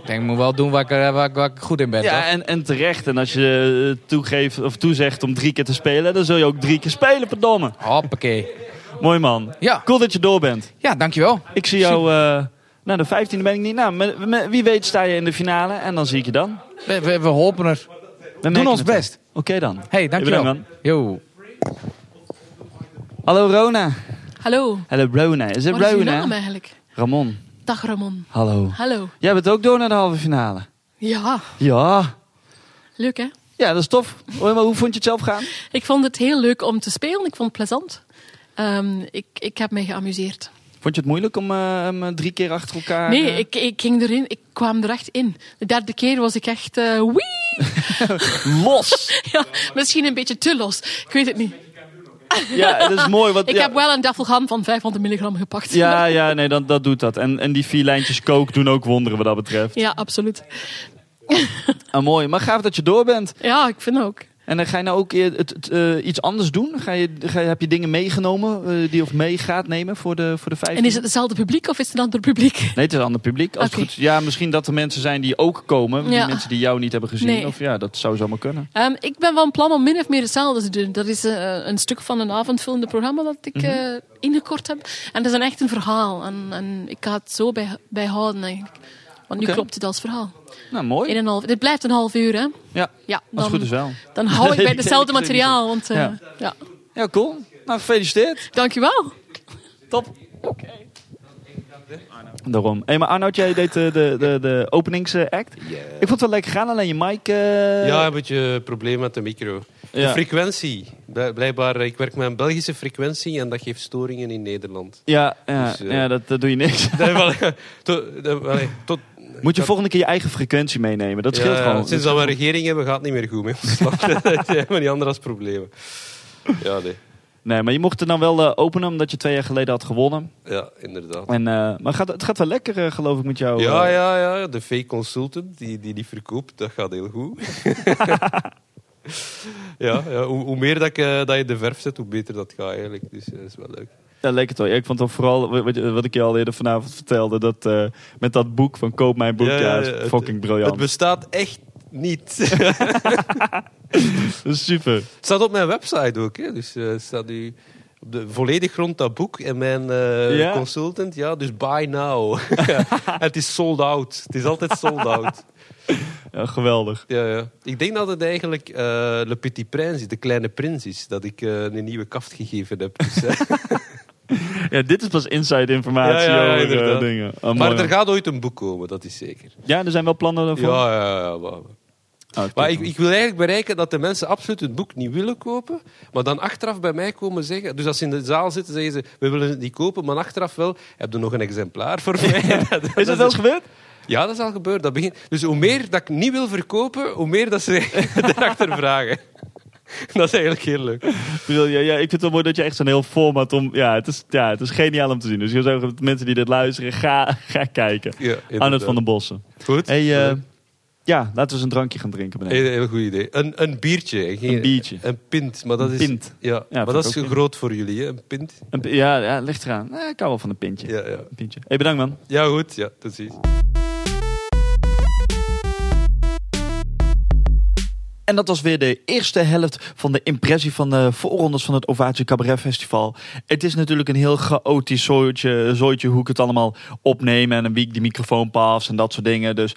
Ik denk, ik moet wel doen waar ik, eh, waar ik, waar ik goed in ben, toch? ja, en, en terecht. En als je eh, toegeeft, of toezegt om drie keer te spelen, dan zul je ook drie keer spelen, verdomme. Hoppakee. (laughs) Mooi man. Ja. Cool dat je door bent. Ja, dankjewel. Ik zie jou... eh nou, de vijftiende ben ik niet. Nou, met- met- wie weet sta je in de finale en dan zie ik je dan. We, we, we hopen het. We Doen ons best. Oké dan. hey, dankjewel. Bedankt, Yo. Hallo Rona. Hallo. Hallo Rona. Is het Wat is uw Rona? naam eigenlijk? Ramon. Dag Ramon. Hallo. Hallo. Jij bent ook door naar de halve finale. Ja, Ja. leuk hè? Ja, dat is tof. Hoi, maar hoe vond je het zelf gaan? Ik vond het heel leuk om te spelen. Ik vond het plezant. Ehm, ik, ik heb me geamuseerd. Vond je het moeilijk om eh, hem, eh, drie keer achter elkaar... nee, eh, ik, ik ging erin. Ik kwam er echt in. De derde keer was ik echt eh, wie. los. (laughs) ja, misschien een beetje te los. Ik weet het niet. Ja, dat is mooi, want- (laughs) ik ja. heb wel een Dafelgam van 500 milligram gepakt. (laughs) Ja, ja, (laughs) nee, dat, dat doet dat. En, en die vier lijntjes kook doen ook wonderen wat dat betreft. ja, absoluut. Ah, mooi. Maar gaaf dat je door bent. Ja, ik vind ook. En dan ga je nou ook eh, het, het, eh, iets anders doen? Ga je, ga je, heb je dingen meegenomen eh, die of mee gaat nemen voor de, voor de vijf? En is het hetzelfde publiek of is het een ander publiek? Nee, het is een ander publiek. Als het Oké. goed, ja, misschien dat er mensen zijn die ook komen. Die Ja. mensen die jou niet hebben gezien. Nee. Of ja, dat zou zomaar kunnen. Ehm, ik ben van plan om min of meer hetzelfde te doen. Dat is eh, een stuk van een avondvullende programma dat ik Mhm. eh, ingekort heb. En dat is een echt een verhaal. En, en ik ga het zo bij, bijhouden eigenlijk. Want nu Oké. klopt het als verhaal. Nou, mooi. In een half, dit blijft een half uur, hè? Ja, Ja, als het dan, goed is wel. dan hou ik Nee, bij hetzelfde (laughs) ik- ik- materiaal. Want, eh, Ja. ja. Ja, cool. Nou, gefeliciteerd. Dankjewel. Top. Daarom. Hey, maar Arnoud, jij deed eh, de, de, de openingsact. Ik vond het wel lekker gaan, alleen je mic... eh, Ja, een beetje probleem met de micro. Ja. De frequentie. Bl- Blijkbaar, eh, ik werk met een Belgische frequentie en dat geeft storingen in Nederland. Ja, ja, Dus, eh, ja dat, dat doe je (laughs) niks. Dat- wel, to- dat- wel, eh, tot, Moet je dat- volgende keer je eigen frequentie meenemen. Dat scheelt Ja, gewoon. Sinds dat we een regering hebben, gaat het niet meer goed met ons (laughs) land. Dat zijn maar die andere als problemen. Ja, nee. Nee, maar je mocht het dan wel eh, openen, omdat je twee jaar geleden had gewonnen. Ja, inderdaad. En, eh, maar gaat, het gaat wel lekker, eh, geloof ik, met jou. Ja, eh. ja, ja. De fake consultant die die, die verkoopt, dat gaat heel (laughs) goed. (laughs) ja, ja hoe, hoe meer dat, ik, eh, dat je de verf zet, hoe beter dat gaat eigenlijk. Dus eh, dat is wel leuk. Ja, lekker toch. Ja, ik vond dan vooral, wat- wat, wat ik je al eerder vanavond vertelde, dat, eh, met dat boek van Koop Mijn Boek, ja, is het- fucking briljant. Het bestaat echt (laughs) niet. super. Het staat op mijn website ook. Hè. Dus eh, het staat nu op de volledig rond dat boek. En mijn eh, Ja? consultant, ja, dus buy now. (laughs) En het is sold out. Het is altijd sold out. Ja, geweldig. Ja, ja. Ik denk dat het eigenlijk eh, Le Petit Prince is, de kleine prins is. Dat ik eh, een nieuwe kaft gegeven heb. (laughs) Dus, eh, Ja, dit is pas inside informatie ja, ja, over eh, inderdaad. dingen. Ah, mooi, maar man. er gaat ooit een boek komen, dat is zeker. Ja, er zijn wel plannen daarvoor. Ja, ja, ja. Maar, Ah, maar ik, ik wil eigenlijk bereiken dat de mensen absoluut het boek niet willen kopen, maar dan achteraf bij mij komen zeggen... Dus als ze in de zaal zitten, zeggen ze, we willen het niet kopen, maar achteraf wel, heb je nog een exemplaar voor mij? (laughs) Is dat wel eens gebeurd? Ja, dat is al gebeurd. Dat begint... Dus hoe meer dat ik niet wil verkopen, hoe meer dat ze (laughs) erachter vragen. (laughs) Dat is eigenlijk heel leuk. Briljant. Ja, ik vind het wel mooi dat je echt zo'n heel format om... Ja, het is, ja, het is geniaal om te zien. Dus je zou zeggen, mensen die dit luisteren, ga, ga kijken. Ja, inderdaad. Arnold van den Bossen. Goed. Hey, eh, ja, laten we eens een drankje gaan drinken beneden. Heel, heel goed idee. Een, een biertje. hè. Geen- Een biertje. Een pint. Maar dat Een is, pint. Ja, Ja, maar vind dat ik is ook, ja. groot voor jullie, hè? een pint. Een pi- ja, ja, ligt eraan. Eh, ik hou wel van een pintje. Ja, ja. Een pintje. Hey, bedankt man. Ja, goed. Ja, tot ziens. En dat was weer de eerste helft van de impressie van de voorrondes van het Ovaatje Cabaret Festival. Het is natuurlijk een heel chaotisch zooitje, zooitje hoe ik het allemaal opneem. En wie ik die microfoon pas en dat soort dingen. Dus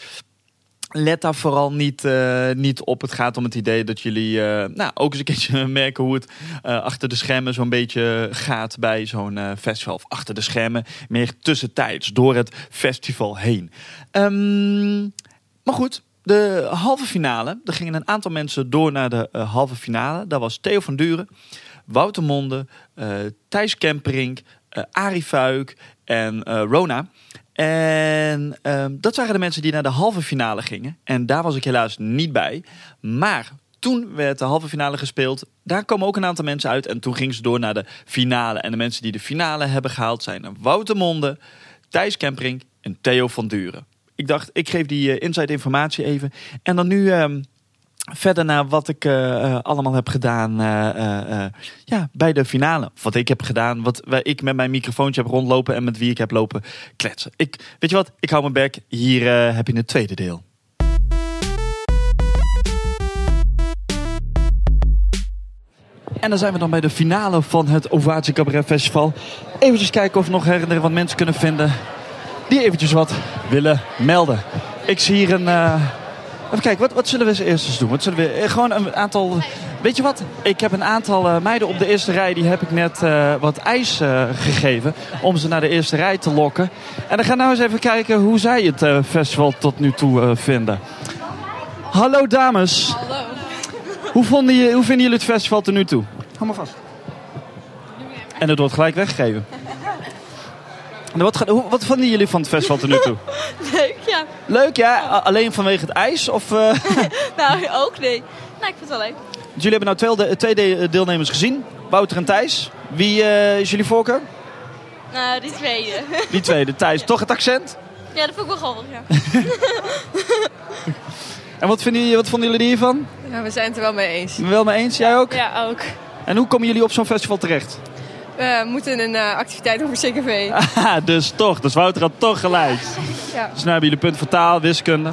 let daar vooral niet, eh, niet op. Het gaat om het idee dat jullie eh, nou, ook eens een keertje (laughs) merken hoe het eh, achter de schermen zo'n beetje gaat bij zo'n eh, festival. Of achter de schermen, meer tussentijds, door het festival heen. Ehm, maar goed, De halve finale, er gingen een aantal mensen door naar de eh, halve finale. Daar was Theo van Duren, Wouter Monde, eh, Thijs Kemperink, eh Arie Fuik en eh, Rona. En ehm, dat waren de mensen die naar de halve finale gingen. En daar was ik helaas niet bij. Maar toen werd de halve finale gespeeld. Daar komen ook een aantal mensen uit. En toen ging ze door naar de finale. En de mensen die de finale hebben gehaald zijn Wouter Monde, Thijs Kemperink en Theo van Duren. Ik dacht, ik geef die eh, inside informatie even. En dan nu ehm, verder naar wat ik eh, eh, allemaal heb gedaan eh, eh, eh, ja, bij de finale. Wat ik heb gedaan, wat waar ik met mijn microfoontje heb rondlopen en met wie ik heb lopen kletsen. Ik, weet je wat, ik hou mijn bek. Hier eh, heb je het tweede deel. En dan zijn we dan bij de finale van het Ovatie Cabaret Festival. Even kijken of we nog her en der wat mensen kunnen vinden die eventjes wat willen melden. Ik zie hier een... eh, Even kijken, wat, wat zullen we als eerste doen? Wat zullen we, eh, gewoon een aantal... Weet je wat? Ik heb een aantal eh, meiden op de eerste rij... die heb ik net eh, wat ijs eh, gegeven... om ze naar de eerste rij te lokken. En dan gaan we nou eens even kijken... hoe zij het eh, festival tot nu toe eh, vinden. Hallo dames. Hallo. Hoe, vonden je, hoe vinden jullie het festival tot nu toe? Hou maar vast. En het wordt gelijk weggegeven. En Wat, gaan- hoe- wat vonden jullie van het festival tot nu toe? Leuk, ja. Leuk, ja. A- Alleen vanwege het ijs? Of, eh, (laughs) Nou, ook nee. Nou, ik vind het wel leuk. jullie hebben nou twee, de- twee de- deelnemers gezien. Wouter en Thijs. Wie eh, is jullie voorkeur? Nou, die tweede. Die tweede, Thijs. Toch het accent? ja, dat vond ik wel grappig, ja. (laughs) En wat, vinden, jullie- wat vonden jullie hiervan? Nou, Ja, we zijn het er wel mee eens. Wel mee eens? Jij ook? Ja, ook. En hoe komen jullie op zo'n festival terecht? We moeten een eh, activiteit over CKV. Haha, (laughs) dus toch. Dus Wouter had toch gelijk. Ja. Dus nu hebben jullie punt voor taal, wiskunde.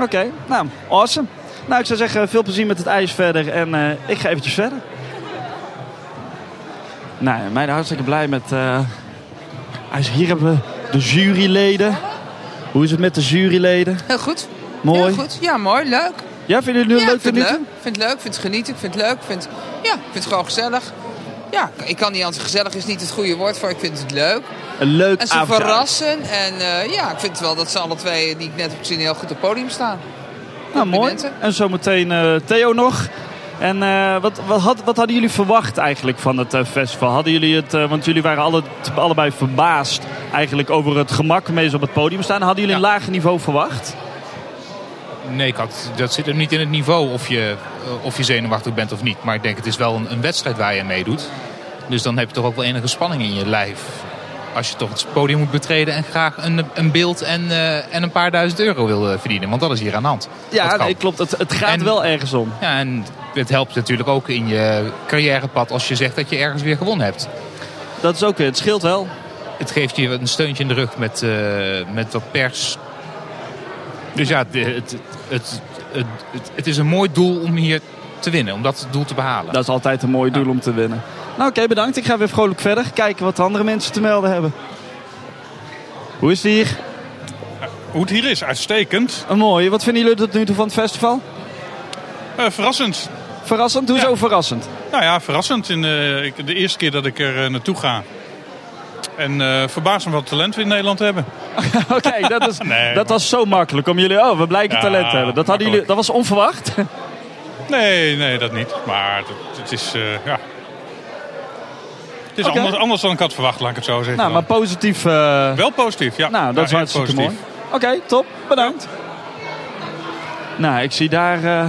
Oké, nou, awesome. Nou, ik zou zeggen, veel plezier met het ijs verder. En eh, ik ga eventjes verder. Nou, ja, meiden hartstikke blij met... eh, ijs. Hier hebben we de juryleden. Hoe is het met de juryleden? Heel goed. Mooi. Heel goed. Ja, mooi. Leuk. Ja, vinden jullie het leuk ik vind tot nu het toe? leuk. Ik vind het leuk. Ik vind het genieten. Ik vind het leuk. Ik vind, ja, ik vind het gewoon gezellig. Ja, ik kan niet anders. Gezellig is niet het goede woord voor. Ik vind het leuk. Een leuk en ze avondje. verrassen. En eh, ja, ik vind wel dat ze alle twee die ik net heb gezien heel goed op het podium staan. Nou, mooi. En zometeen eh, Theo nog. En eh, wat, wat, had, wat hadden jullie verwacht eigenlijk van het eh, festival? Hadden jullie het, eh, want jullie waren alle, allebei verbaasd eigenlijk over het gemak waarmee ze op het podium staan. Hadden jullie een lager niveau verwacht? Nee, ik had, dat zit hem niet in het niveau of je, eh, of je zenuwachtig bent of niet. Maar ik denk, het is wel een, een wedstrijd waar je aan meedoet. Dus dan heb je toch ook wel enige spanning in je lijf. Als je toch het podium moet betreden en graag een, een beeld en, eh, en een paar duizend euro wil eh, verdienen. Want dat is hier aan de hand. Ja, Dat kan. nee, klopt. Het, het gaat wel ergens om. Ja, en het helpt natuurlijk ook in je carrièrepad als je zegt dat je ergens weer gewonnen hebt. Dat is ook weer, het scheelt wel. Het geeft je een steuntje in de rug met, eh, met wat pers. Dus ja, de- het, het, het, het, het is een mooi doel om hier te winnen, om dat doel te behalen. Dat is altijd een mooi doel om te winnen. Nou oké, bedankt. Ik ga weer vrolijk verder. Kijken wat de andere mensen te melden hebben. Hoe is het hier? Eh, Hoe het hier is, uitstekend. mooi. Wat vinden jullie tot nu toe van het festival? Eh, verrassend. Verrassend? Hoezo verrassend? Nou ja, verrassend. In de, ik- de eerste keer dat ik er eh, naartoe ga. En eh verbazend wat talent we in Nederland hebben. (laughs) Oké, dat, (laughs) is, dat was zo makkelijk om jullie... Oh, we blijken Ja, talent te hebben. Dat, hadden jullie, dat was (laughs) onverwacht. Nee, nee, dat niet. Maar het, het is, eh, ja... Het is Oké. anders, anders dan ik had verwacht, laat ik het zo zeggen. nou, maar dan. positief... eh, Wel positief, ja. nou, dat is Ja, heel hartstikke mooi. positief. Oké, top. Bedankt. Nou, ik zie daar eh,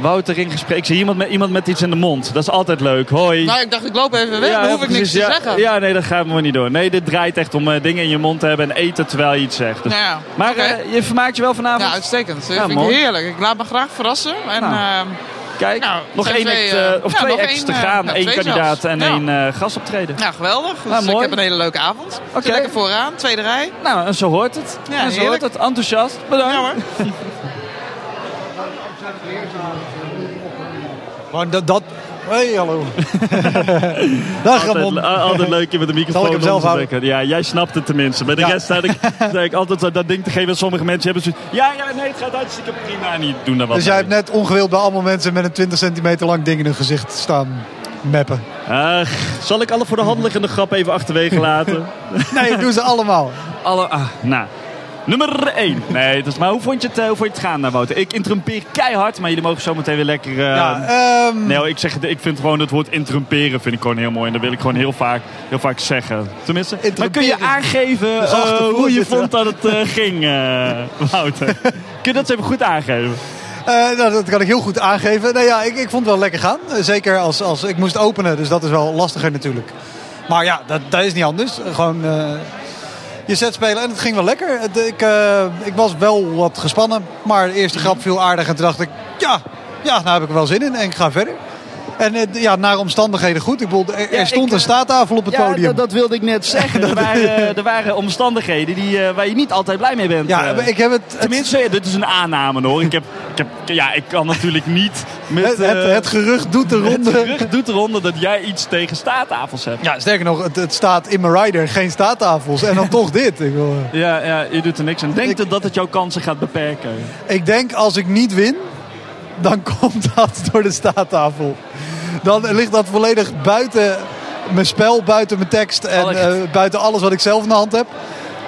Wouter in gesprek. Ik zie iemand met, iemand met iets in de mond. Dat is altijd leuk. Hoi. Nou, ik dacht, ik loop even weg. dan heel hoef ik niks precies, ja, te zeggen. Ja, nee, dat gaan we niet door. Nee, dit draait echt om eh, dingen in je mond te hebben en eten terwijl je iets zegt. Dus- Nou ja, maar eh, je vermaakt je wel vanavond? Ja, uitstekend. Dat Ja, vind ik mooi. heerlijk. Ik laat me graag verrassen. En, Nou, ehm, Kijk, nou, nog zijn één twee, act, eh, eh, of ja, twee nog acts te één, eh, gaan. ja, Eén twee kandidaat zelfs. en Ja. één eh, gastoptreden. Ja, geweldig. Dus Nou, ik mooi. heb een hele leuke avond. Ik zit Oké. Lekker vooraan, tweede rij. Nou, en zo hoort het. Ja, en zo hoort heerlijk. het. Enthousiast. Bedankt. (laughs) eh. Maar dat... dat... Hey, (laughs) hallo. Dag Altijd, Ramon. a- altijd leuk je met de microfoon Zal ik hem zelf onder te houden? dekken. Ja, jij snapt het tenminste. Bij de rest sta (laughs) ik, sta ik altijd zo dat ding te geven dat sommige mensen hebben. zoiets, Ja, ja, nee, het gaat hartstikke prima. Niet doen daar (laughs) wat Dus jij mee. hebt net ongewild bij allemaal mensen met een 20 centimeter lang ding in hun gezicht staan (laughs) mappen. Ach, zal ik alle voor de hand liggende grap even achterwege laten? Nee, doe ze allemaal. Alle, ah, nou. Nummer 1. Nee, dat is maar hoe vond je het, eh, hoe vond je het gaan, eh, Wouter? Ik interrumpeer keihard, maar jullie mogen zo meteen weer lekker... eh, Ja, ehm. Nee, hoor, ik, zeg, het- ik vind gewoon het woord interrumperen vind ik gewoon heel mooi. En dat wil ik gewoon heel vaak, heel vaak zeggen. Tenminste, maar kun je aangeven Dat is eh, achtervoor hoe je zitten. vond dat het eh, ging, eh, (laughs) Wouter? kun je dat eens even goed aangeven? Eh, nou, dat kan ik heel goed aangeven. Nou ja, ik, ik vond het wel lekker gaan. Eh, Zeker als, als ik moest openen, dus dat is wel lastiger natuurlijk. Maar ja, dat, dat is niet anders. Eh, Gewoon eh, je set spelen en het ging wel lekker. Het- ik, eh, ik was wel wat gespannen, maar de eerste grap viel aardig. En toen dacht ik, ja, ja daar heb ik er wel zin in en ik ga verder. En eh, ja, naar omstandigheden goed. Ik bedoel, er, Ja, er stond ik, een staattafel op het ja, podium. dat- dat wilde ik (laughs) net zeggen. eh, Er waren, er waren omstandigheden die, eh, waar je niet altijd blij mee bent. Ja, eh. maar ik heb het- Tenminste, dit is een aanname hoor. Ik, heb, ik, heb, ja, ik kan natuurlijk niet met... Het- het- eh, het gerucht doet de ronde. Het gerucht doet de ronde dat jij iets tegen staattafels hebt. Ja, sterker nog, het, het staat in mijn rider geen staattafels. En (laughs) dan toch dit. Ik bedoel, eh. Ja, ja, je doet er niks aan. Denk dat het jouw kansen gaat beperken. eh, Ik denk als ik niet win, dan (laughs) komt dat door de staattafel. Dan ligt dat volledig buiten mijn spel, buiten mijn tekst en eh, buiten alles wat ik zelf in de hand heb.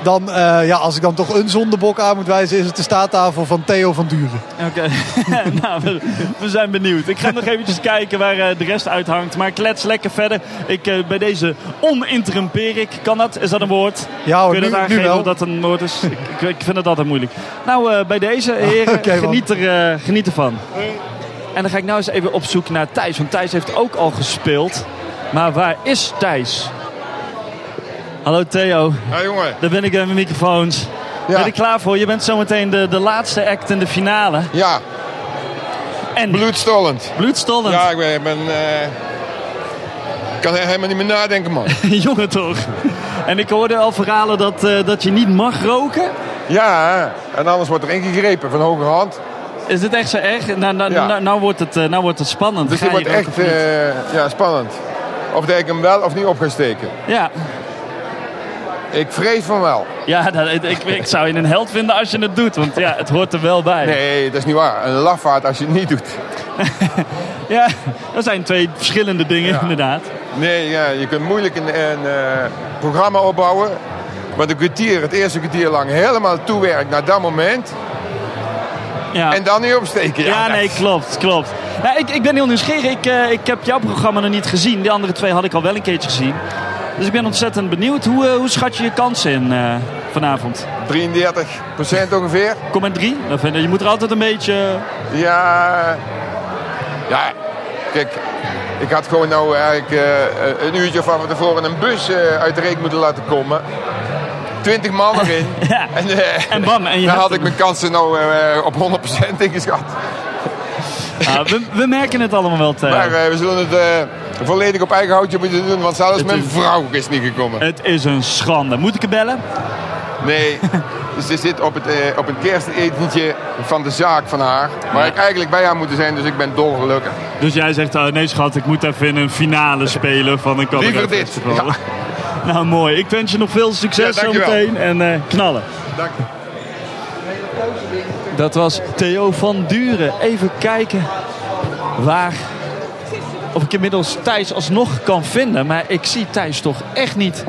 Dan, eh, ja, als ik dan toch een zondebok aan moet wijzen, is het de staattafel van Theo van Duren. Oké, (laughs) nou, we, we zijn benieuwd. Ik ga nog eventjes kijken waar eh, de rest uithangt. Maar klets lekker verder. Ik, eh, bij deze oninterrumpeer ik. Kan dat? Is dat een woord? Ja hoor, Kun je nu- dat nu aangeven wel. of dat een woord is? ik, ik- ik vind het altijd moeilijk. Nou, eh, bij deze (laughs) heren, oké, man. geniet, er, eh, geniet ervan. En dan ga ik nou eens even op zoek naar Thijs. Want Thijs heeft ook al gespeeld. Maar waar is Thijs? Hallo Theo. Ja, jongen. Daar ben ik met mijn microfoons. Ben je er klaar voor? Je bent zometeen de, de laatste act in de finale. Ja. En? Bloedstollend. Bloedstollend? Ja, ik ben... Ik ben, eh, ik kan er helemaal niet meer nadenken, man. (laughs) Jongen toch. En ik hoorde al verhalen dat, eh, dat je niet mag roken. Ja, en anders wordt er ingegrepen van hoge hand. Is dit echt zo erg? Nou, nou, Ja. nou, nou wordt, het, eh, nou wordt het spannend. Dus Ga dit je wordt roken echt of niet? eh, ja, spannend. Of dat ik hem wel of niet op ga steken. Ja, Ik vrees van wel. ja dat, ik, ik, ik zou je een held vinden als je het doet. Want ja, het hoort er wel bij. Nee, dat is niet waar. Een lafaard als je het niet (laughs) doet. Ja, dat zijn twee verschillende dingen inderdaad. Nee, ja, je kunt moeilijk een, een eh, programma opbouwen. Wat een kwartier, het eerste kwartier lang helemaal toewerkt naar dat moment. Ja. En dan niet opsteken. Ja, nee, klopt, klopt. Nou, ik, ik ben heel nieuwsgierig. Ik, eh, ik heb jouw programma nog niet gezien. De andere twee had ik al wel een keertje gezien. Dus ik ben ontzettend benieuwd. Hoe, eh, hoe schat je je kansen in eh, vanavond? 33 (laughs) ongeveer. Kom met drie. Dan vind ik- je moet er altijd een (laughs) beetje... Ja, ja, kijk, ik had gewoon nou eigenlijk eh, een uurtje van tevoren een bus eh, uit de reek moeten laten komen. Twintig man (laughs) erin. en, eh, En bam, en je dan hebt had hem. ik mijn kansen nou eh, op 100% (laughs) ingeschat. Ah, we, we merken het allemaal wel, Theo. Maar eh, we zullen het eh, volledig op eigen houtje moeten doen, want zelfs mijn vrouw is niet gekomen. Het is een schande. Moet ik er bellen? (laughs) Nee, ze zit op het, eh, op het kerstetentje van de zaak van haar. Waar ik eigenlijk bij haar moet zijn, dus ik ben dolgelukkig. Dus jij zegt, oh, nee schat, ik moet even in een (laughs) finale spelen van een cabaret. Liever dit, festival. (laughs) Nou, mooi. Ik wens je nog veel succes Ja, dankjewel. zometeen. En eh, knallen. Dank. Dat was Theo van Duren. Even kijken waar... Of ik inmiddels Thijs alsnog kan vinden. Maar ik zie Thijs toch echt niet.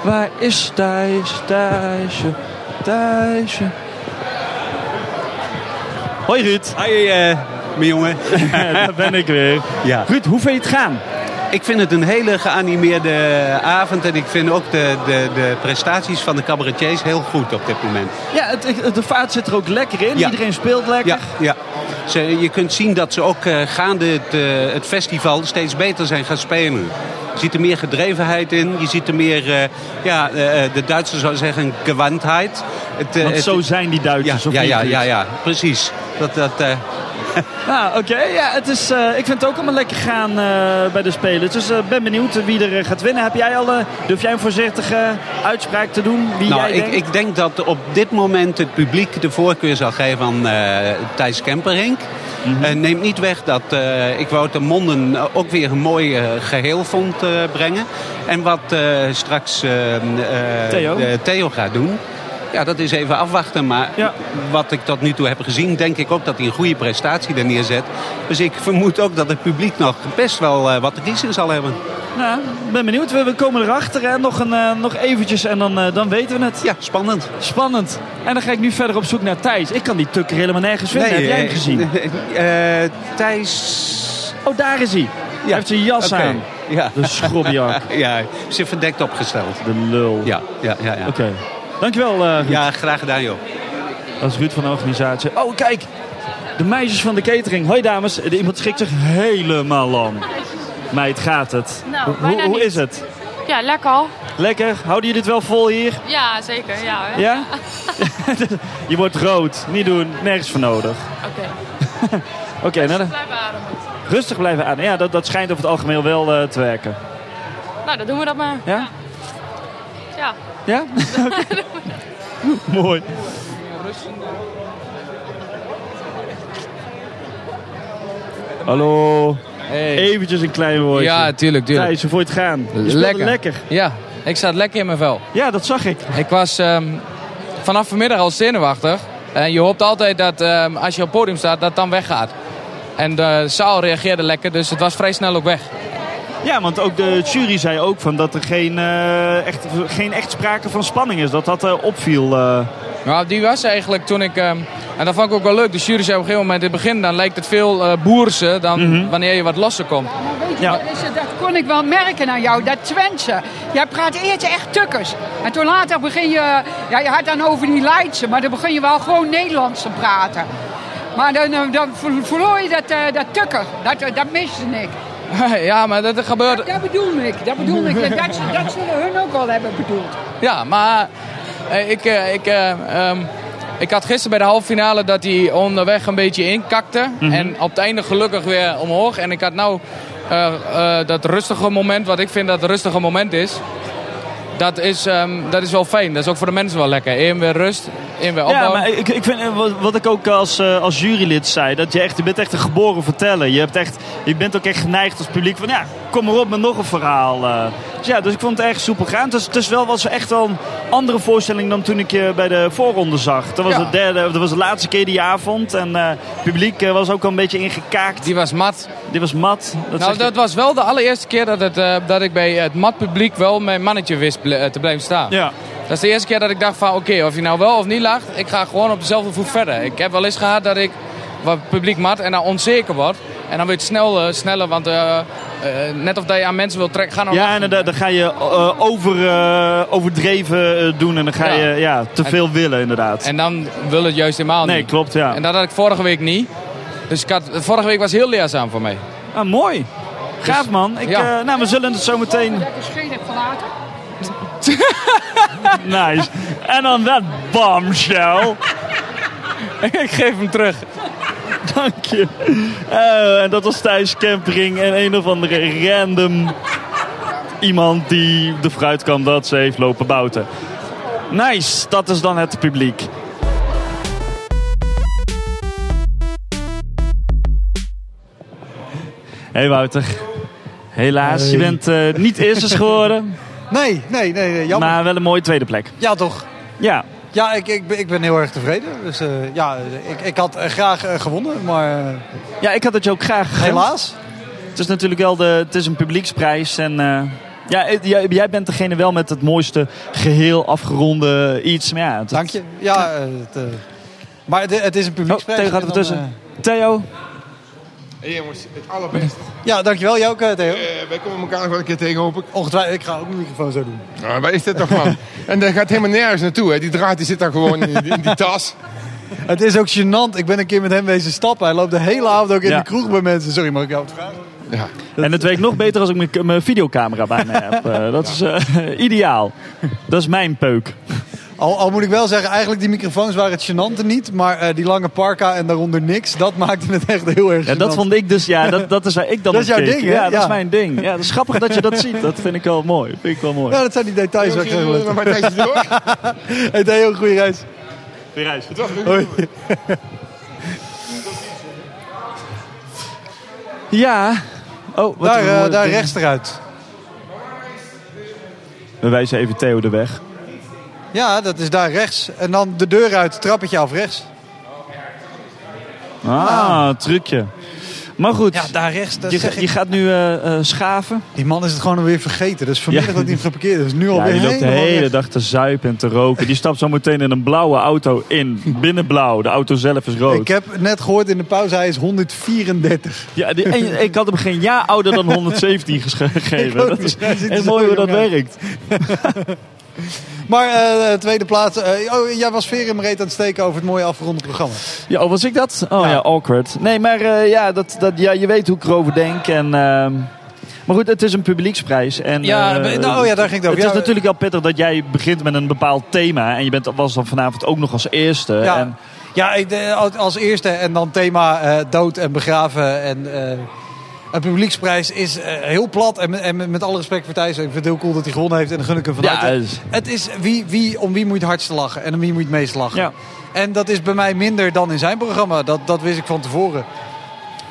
Waar is Thijs? Thijsje, Thijsje. Hoi Ruud. Hoi, eh, mijn jongen. (laughs) Daar ben ik weer. Ja. Ruud, hoe vind je het gaan? Ik vind het een hele geanimeerde avond. En ik vind ook de, de, de prestaties van de cabaretiers heel goed op dit moment. Ja, het, het- de vaart zit er ook lekker in. Ja. Iedereen speelt lekker. Ja, ja. Ze, je kunt zien dat ze ook eh, gaande het, eh, het festival steeds beter zijn gaan spelen. Je ziet er meer gedrevenheid in. Je ziet er meer, eh, ja, eh, eh, de Duitsers zou zeggen, gewandheid. Het, eh, Want het- zo zijn die Duitsers, ja, of ja, niet, ja, Ruud? ja, ja, precies. Dat, dat, eh, Nou, oké. Ja, het is, eh, ik vind het ook allemaal lekker gaan eh, bij de spelers. Dus ik ben benieuwd eh, wie er eh, gaat winnen. Heb jij al, eh, durf jij een voorzichtige uitspraak te doen? Wie nou, jij ik, denkt? ik denk dat op dit moment het publiek de voorkeur zal geven aan eh, Thijs Kemperink. Mhm. Eh, neemt niet weg dat eh, ik Wouter Monden eh, ook weer een mooi eh, geheel vond eh, brengen. En wat eh, straks eh, eh, Theo. de Theo gaat doen. Ja, dat is even afwachten. Maar wat ik tot nu toe heb gezien, denk ik ook dat hij een goede prestatie er neerzet. Dus ik vermoed ook dat het publiek nog best wel eh, wat te kiezen zal hebben. Nou, ik ben benieuwd. We, we komen erachter. Hè. Nog, een, eh, nog eventjes en dan, eh, dan weten we het. Ja, spannend. Spannend. En dan ga ik nu verder op zoek naar Thijs. Ik kan die tukker helemaal nergens vinden. Heb jij hem eh, gezien? (laughs) eh, eh, Thijs... Oh, daar is hij. Hij heeft zijn jas Oké, aan. Ja. De schrobjak. (laughs) ja, zich verdekt opgesteld. De lul. Ja, ja, ja. ja. Oké. Dankjewel, eh, Ruud. Ja, graag gedaan, joh. Dat is Ruud van de organisatie. Oh, kijk. De meisjes van de catering. Hoi, dames. De- Iemand schikt zich helemaal lam. Meid, gaat het? Nou, Hoe- hoe bijna hoe niet. is het? Ja, lekker al. Lekker? Houden jullie het wel vol hier? Ja, zeker. Ja? hoor. Ja? (laughs) Je wordt rood. Niet doen. Nergens voor nodig. Oké. (laughs) Oké, nou dan- Blijf ademen. rustig blijven aan. Ja, dat, dat schijnt over het algemeen wel eh, te werken. Nou, dan doen we dat maar. Ja? Ja. (laughs) Ja? (laughs) Mooi. Hallo. Eventjes een klein woordje. Ja, tuurlijk, tuurlijk. Thijs, hoe vond je het gaan? Je speelde lekker. Ja, ik zat lekker in mijn vel. Ja, dat zag ik. Ik was ehm, vanaf vanmiddag al zenuwachtig. En je hoopt altijd dat ehm, als je op het podium staat, dat het dan weggaat. En de zaal reageerde lekker, dus het was vrij snel ook weg. Ja, want ook de jury zei ook van dat er geen, eh, echt, geen echt sprake van spanning is. Dat dat eh, opviel. eh. Nou, die was eigenlijk toen ik... ehm, en dat vond ik ook wel leuk. De jury zei op een gegeven moment in het begin... dan lijkt het veel eh boerse dan Mhm. wanneer je wat losser komt. (laughs) Weet je Ja. wat is het? Dat kon ik wel merken aan jou, dat Twentse. Jij praat eerst echt tukkers. En toen later begin je... Ja, je had dan over die Leidse, maar dan begin je wel gewoon Nederlands te praten. Maar dan, eh, dan ver- verloor je dat, eh, dat tukker. Dat, eh, dat miste ik. ja, maar dat gebeurt... Dat, dat bedoel ik, dat bedoel (laughs) ik. En Dat, dat zullen hun ook wel hebben bedoeld. Ja, maar eh, ik, eh, ik, eh, ehm, ik had gisteren bij de halve finale dat hij onderweg een beetje inkakte. Mhm. En op het einde gelukkig weer omhoog. En ik had nou eh, eh, dat rustige moment, wat ik vind dat het rustige moment is. Dat is, ehm, dat is wel fijn. Dat is ook voor de mensen wel lekker. Eén weer rust, één weer Ja, opbouw. maar ik, ik vind, eh, wat, wat ik ook als, eh, als jurylid zei, dat je echt, je bent echt een geboren verteller. Je, hebt echt, je bent ook echt geneigd als publiek van, ja, kom maar op met nog een verhaal. eh. Dus ja, dus ik vond het erg soepel gaan. Het is, het is wel, was echt wel een andere voorstelling dan toen ik je bij de voorronde zag. Dat was, de, derde, dat was de laatste keer die avond en eh, het publiek eh, was ook al een beetje ingekaakt. Die was mat. Die was mat. Dat nou, zeg je- dat was wel de allereerste keer dat, het, eh, dat ik bij het matpubliek wel mijn mannetje wist bl- eh, te blijven staan. Ja. Dat is de eerste keer dat ik dacht van oké, of je nou wel of niet lacht, ik ga gewoon op dezelfde voet verder. Ik heb wel eens gehad dat ik wat publiek mat en dan onzeker wordt. En dan weer snel, eh, sneller, want eh, eh, net of dat je aan mensen wil trekken, nou gaan Ja, inderdaad. Dan ga je eh, over, eh, overdreven eh, doen en dan ga Ja. je ja, te En- veel willen, inderdaad. En dan wil het juist helemaal niet. Nee, klopt, ja. En dat had ik vorige week niet. Dus ik had, vorige week was heel leerzaam voor mij. Ah, mooi. Gaaf man. Ik, Dus Ja. eh, nou, we zullen het zo meteen... Dat is geen verlaten. (laughs) Nice. En dan dat (laughs) bombshell. Ik geef hem terug. Dank je. Eh, en dat was Thijs Kempering en een of andere random iemand die de fruitkamp dat ze heeft lopen bouten. Nice, dat is dan het publiek. Hey Wouter, helaas, Hey. je bent eh, niet eerste geworden. (laughs) Nee, nee, nee, nee, jammer. Maar wel een mooie tweede plek. Ja, toch? Ja. Ja, ik, ik, ben- ik ben heel erg tevreden. Dus eh, ja, ik, ik had eh, graag eh, gewonnen, maar... eh, Ja, ik had het je ook graag gegund. Helaas. Het is natuurlijk wel de, het is een publieksprijs. En, eh, ja, eh, jij, jij bent degene wel met het mooiste geheel afgeronde iets. Maar ja, het- Dank je. Ja, eh, het, eh, maar het, het is een publieksprijs. Oh, Theo gaat er en dan, tussen. Theo? Jongens, het allerbeste. eh, ja, dankjewel. Jou ook, eh, Theo. wij komen elkaar nog wel een keer tegen, hoop ik. Ongetwijfeld. Ik ga ook mijn microfoon zo doen. Nou, waar is dit toch, (laughs) man? en dat gaat helemaal nergens naartoe, hè. Die draad die zit daar gewoon in, die- in die tas. Het is ook gênant. Ik ben een keer met hem wezen stappen. Hij loopt de hele avond ook in Ja. de kroeg bij mensen. Sorry, mag ik jou wat vragen? En het werkt nog beter als ik mijn, mijn videocamera bij me (laughs) heb. Eh, dat is eh, (laughs) ideaal. Dat is mijn peuk. Al, al moet ik wel zeggen, eigenlijk die microfoons waren het gênante niet. Maar eh, die lange parka en daaronder niks, dat maakte het echt heel erg Ja, dat gênant. vond ik dus, ja, dat, dat is waar ik dan Dat is op jouw keek. ding, hè? Ja, dat Ja. is mijn ding. Ja, dat is grappig dat je dat ziet. Dat vind ik wel mooi. Vind ik wel mooi. Ja, dat zijn die details waar ik Jongens, heel jullie willen nog maar een (laughs) Het deed heel goede reis. Goeie reis. Hoi. Ja. Oh, wat daar een eh, mooi daar ding. rechts eruit. We wijzen even Theo de weg. Ja, dat is daar rechts. En dan de deur uit, trappetje af rechts. Ah, trucje. Ah. Maar goed, Ja, daar rechts, dat je, zeg ga- ik. je gaat nu eh, eh, schaven. Die man is het gewoon alweer vergeten. Dus vanmiddag Ja. dat hij hem geparkeerd is. Nu Ja, alweer die loopt de helemaal hele weg. dag te zuipen en te roken. Die stapt zo meteen in een blauwe auto in. Binnen blauw. De auto zelf is rood. Ik heb net gehoord in de pauze, hij is 134. Ja, die- en (laughs) ik had hem geen jaar ouder dan (laughs) 117 ges- Ik gegeven. ook Dat niet. is, Hij ziet er en zo mooi hoe dat jong uit. werkt. (laughs) Maar eh, tweede plaats. eh, oh, jij was veer in mijn reet aan het steken over het mooie afgeronde programma. Ja, oh, was ik dat? Oh ja, awkward. Nee, maar eh, ja, dat, dat, ja, je weet hoe ik erover denk. En, ehm, maar goed, het is een publieksprijs. En, Ja, eh, maar- nou, oh ja, daar ging het over. Het Ja, is we- natuurlijk wel pittig dat jij begint met een bepaald thema. En je bent, was dan vanavond ook nog als eerste. ja, En, ja ik, de- als- als eerste en dan thema eh, dood en begraven. En eh, een publieksprijs is eh, heel plat. En, met- en met- met alle respect voor Thijs, ik vind het heel cool dat hij gewonnen heeft. En dan gun ik hem van Ja, harte. het is- Het is wie, wie, om wie moet je het hardst lachen en om wie moet je het meest lachen. En dat is bij mij minder dan in zijn programma. Dat, dat wist ik van tevoren.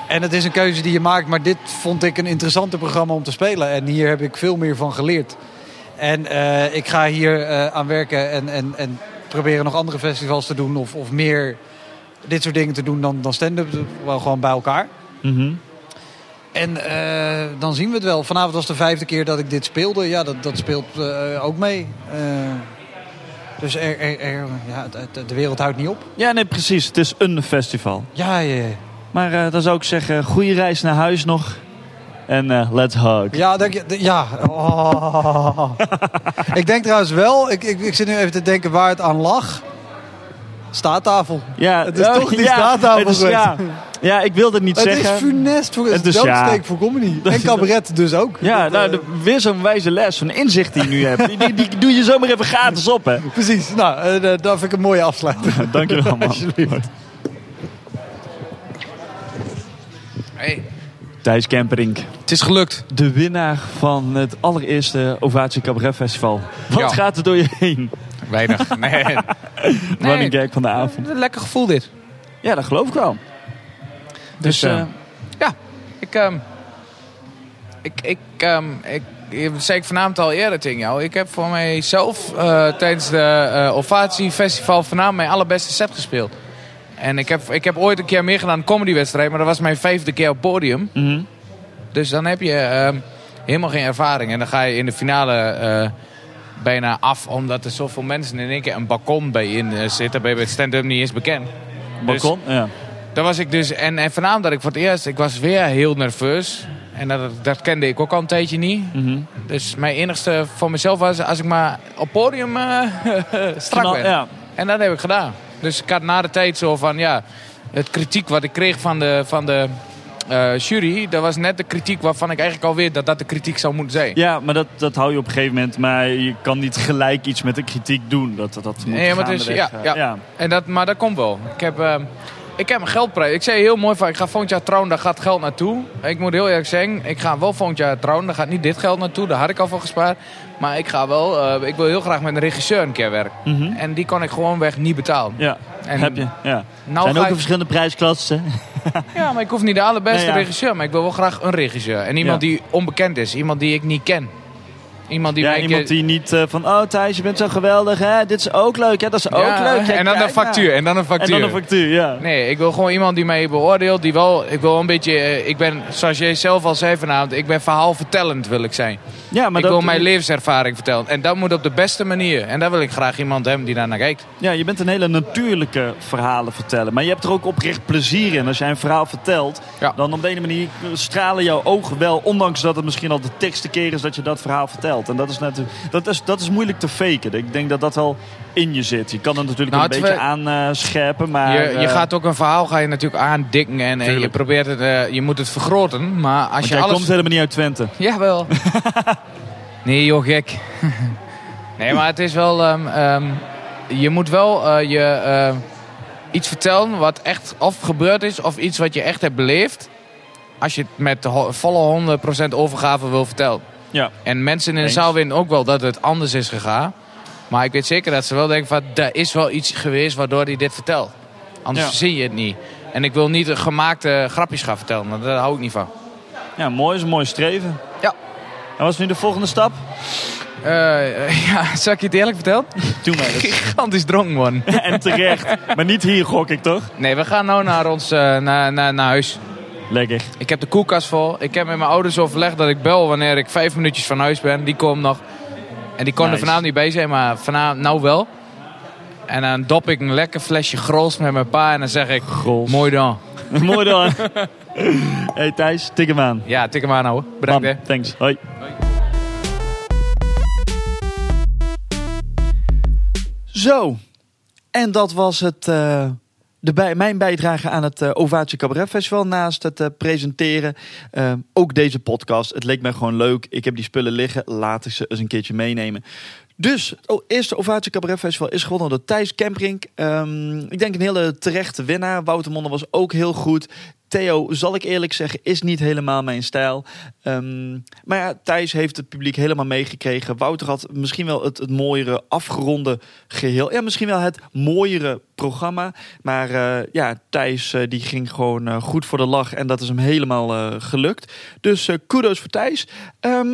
En het is een keuze die je maakt, maar dit vond ik een interessanter programma om te spelen. En hier heb ik veel meer van geleerd. En eh, ik ga hier eh, aan werken en, en, en proberen nog andere festivals te doen. Of, of meer dit soort dingen te doen dan, dan stand-up. eh, Wel gewoon bij elkaar. mhm. En eh, dan zien we het wel. Vanavond was de vijfde keer dat ik dit speelde. Ja, dat, dat speelt eh, ook mee. Eh, dus er, er, er- ja, de- de, de wereld houdt niet op. ja, nee, precies. Het is een festival. Ja, ja, ja. Maar eh, dan zou ik zeggen, goede reis naar huis nog. En eh, let's hug. Ja, denk je, d- ja. Oh. ik denk trouwens wel, ik, ik, ik zit nu even te denken waar het aan lag. Staattafel. Ja, het is oh, toch die ja, staattafel het is- geweest. ja. ja, ik wilde het niet Het is zeggen. funest voor- het is ja. doodsteek voor comedy. (laughs) En cabaret dus ook. eh, Ja, nou, de- weer zo'n wijze les, zo'n inzicht die je nu hebt. Die, die, die doe je zomaar even gratis op, hè. Precies, nou, eh, eh, dat vind ik een mooie afsluiting. (laughs) Dankjewel, man. Alsjeblieft. Hey. Thijs Kemperink. Het is gelukt. De winnaar van het allereerste Ovatie Cabaret Festival. Wat Ja. gaat er door je heen? (laughs) Weinig. Nee. Running gag van de avond. Een lekker gevoel dit. Ja, dat geloof ik wel. Dus, Dus, eh, eh, Ja, ik. ehm, ik, ik, ehm, ik dat zei ik vanavond al eerder tegen jou. Ik heb voor mijzelf eh, tijdens de eh Ovatie Festival vanavond mijn allerbeste set gespeeld. En ik heb, ik heb ooit een keer meegedaan aan een comedywedstrijd, maar dat was mijn vijfde keer op podium. Mhm. Dus dan heb je ehm, helemaal geen ervaring. En dan ga je in de finale eh, bijna af, omdat er zoveel mensen in één keer een balkon bij in eh, zitten. Ben je bij het stand-up niet eens bekend. balkon? ja. Daar was ik dus, en, en vanavond dat ik voor het eerst, ik was weer heel nerveus. En dat, dat kende ik ook al een tijdje niet. Mhm. Dus mijn enigste voor mezelf was, als ik maar op podium eh, (laughs) strak Knal- ben. ja. En dat heb ik gedaan. Dus ik had na de tijd zo van, ja, het kritiek wat ik kreeg van de, van de eh, jury, dat was net de kritiek waarvan ik eigenlijk al weet dat dat de kritiek zou moeten zijn. ja, maar dat, dat hou je op een gegeven moment. Maar je kan niet gelijk iets met de kritiek doen. Dat, dat, dat moet Nee, maar, het is- gaandeweg, ja, eh, ja. En dat, maar dat komt wel. Ik heb, ehm, ik heb mijn geldprijs. Ik zei heel mooi van, ik ga volgend jaar trouwen, daar gaat geld naartoe. Ik moet heel eerlijk zeggen, ik ga wel volgend jaar trouwen, daar gaat niet dit geld naartoe. Daar had ik al voor gespaard. Maar ik ga wel, eh, ik wil heel graag met een regisseur een keer werken. Mhm. En die kon ik gewoonweg niet betalen. Ja, En- heb je. Ja. Nou Zijn ga ook ik- in verschillende prijsklassen. Ja, maar ik hoef niet de allerbeste Nee, ja. regisseur, maar ik wil wel graag een regisseur. En iemand Ja. die onbekend is, iemand die ik niet ken. Iemand die ja, mij een iemand keer- die niet eh, van, oh Thijs, je bent zo geweldig, hè? dit is ook leuk, hè? dat is ook Ja, leuk. Ja, en dan kijk een nou. factuur, en dan een factuur. En dan een factuur, ja. Nee, ik wil gewoon iemand die mij beoordeelt. Die wel, ik wil een beetje, eh, ik ben, zoals jij zelf al zei vanavond, ik ben verhaalvertellend wil ik zijn. Ja, maar ik dat- wil mijn levenservaring vertellen. En dat moet op de beste manier. En daar wil ik graag iemand hebben die daar naar kijkt. Ja, je bent een hele natuurlijke verhalen vertellen. Maar je hebt er ook oprecht plezier in. Als jij een verhaal vertelt, dan op de ene manier stralen jouw ogen wel. Ondanks dat het misschien al de tekste keer is dat je dat verhaal vertelt. En dat is, natuurlijk, dat is, dat is moeilijk te faken. Ik denk dat dat wel in je zit. Je kan het natuurlijk Nou, een het beetje we- aanscherpen. Maar, je, je eh, gaat ook een verhaal ga je natuurlijk aandikken en, en je probeert het, eh, je moet het vergroten. Maar als want je jij alles... komt helemaal niet uit Twente. (laughs) Jawel. nee, joh, gek. nee, maar het is wel. ehm, ehm, je moet wel eh, je, eh, iets vertellen wat echt of gebeurd is, of iets wat je echt hebt beleefd. Als je het met de ho- volle 100% overgave wil vertellen. Ja. En mensen in de Eens. zaal weten ook wel dat het anders is gegaan. Maar ik weet zeker dat ze wel denken van... er is wel iets geweest waardoor hij dit vertelt. Anders Ja. zie je het niet. En ik wil niet eh, gemaakte grapjes gaan vertellen. want Daar hou ik niet van. Ja, mooi is een mooi streven. Ja. En wat is nu de volgende stap? Eh, (laughs) ja, zal ik je het eerlijk vertellen? (laughs) Doe maar eens. (laughs) Gigantisch dronken (laughs) worden. en terecht. Maar niet hier, gok ik toch? Nee, we gaan nou naar, ons, eh, naar, naar, naar huis. Lekker. Ik heb de koelkast vol. Ik heb met mijn ouders overlegd dat ik bel wanneer ik vijf minuutjes van huis ben. Die komt nog. En die kon er Nice. vanavond niet bij zijn, maar vanavond nou wel. En dan dop ik een lekker flesje grols met mijn pa en dan zeg ik... (laughs) Mooi dan. Mooi dan. (laughs) hey Thijs, tik hem aan. Ja, tik hem aan ouwe. Bedankt hè. Thanks. Hoi. Zo, en dat was het, eh, de bij, mijn bijdrage aan het eh Ovaatje Cabaret Festival. Naast het eh, presenteren, eh, ook deze podcast. Het leek mij gewoon leuk. Ik heb die spullen liggen. Laat ik ze eens een keertje meenemen. Dus het o- eerste Ovaatje Cabaret Festival is gewonnen door Thijs Kemprink. Ehm, ik denk een hele terechte winnaar. Wouter Monde was ook heel goed. Theo, zal ik eerlijk zeggen, is niet helemaal mijn stijl. Ehm, maar ja, Thijs heeft het publiek helemaal meegekregen. Wouter had misschien wel het, het mooiere afgeronde geheel. Ja, misschien wel het mooiere programma. Maar eh, ja, Thijs eh, die ging gewoon eh, goed voor de lach. En dat is hem helemaal eh, gelukt. Dus eh, kudos voor Thijs. Ehm,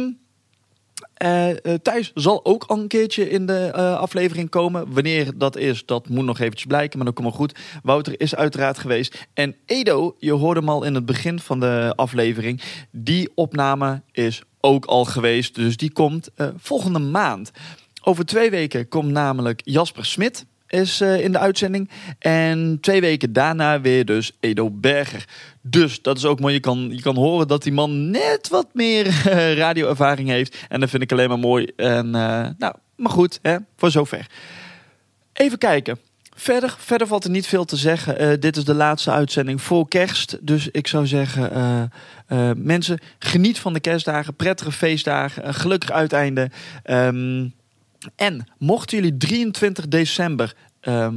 eh, eh, Thijs zal ook al een keertje in de eh, aflevering komen. Wanneer dat is, dat moet nog eventjes blijken, maar dat komt wel goed. Wouter is uiteraard geweest. En Edo, je hoorde hem al in het begin van de aflevering. Die opname is ook al geweest, dus die komt eh, volgende maand. Over twee weken komt namelijk Jasper Smit is eh, in de uitzending. En twee weken daarna weer dus Edo Berger. Dus dat is ook mooi. Je kan, je kan horen dat die man net wat meer (laughs) eh, radioervaring heeft. En dat vind ik alleen maar mooi. En, eh, nou, maar goed, hè, voor zover. Even kijken. Verder, verder valt er niet veel te zeggen. Eh, dit is de laatste uitzending voor kerst. Dus ik zou zeggen, eh, eh, mensen, geniet van de kerstdagen. Prettige feestdagen. Een gelukkig uiteinde. Ehm, en mochten jullie 23 december ehm,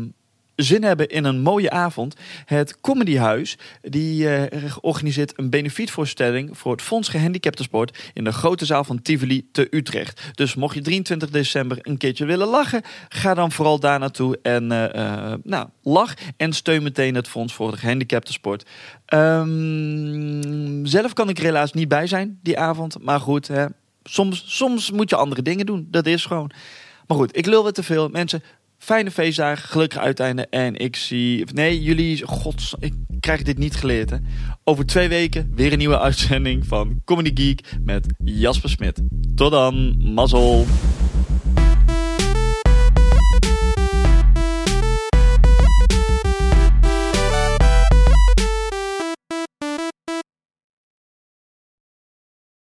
zin hebben in een mooie avond... het Comedyhuis die, eh, organiseert een benefietvoorstelling... voor het Fonds Gehandicapten Sport in de grote zaal van Tivoli te Utrecht. Dus mocht je 23 december een keertje willen lachen... ga dan vooral daar naartoe en eh, eh, nou, lach en steun meteen het Fonds voor de Gehandicapten Sport. Ehm, zelf kan ik er helaas niet bij zijn die avond, maar goed... Hè, soms, soms moet je andere dingen doen. Dat is gewoon. Maar goed, ik lul weer te veel. Mensen, fijne feestdagen, gelukkig uiteinde. En ik zie... of Nee, jullie... Gods, ik krijg dit niet geleerd, hè. Over twee weken weer een nieuwe uitzending van Comedy Geek met Jasper Smit. Tot dan, mazzel.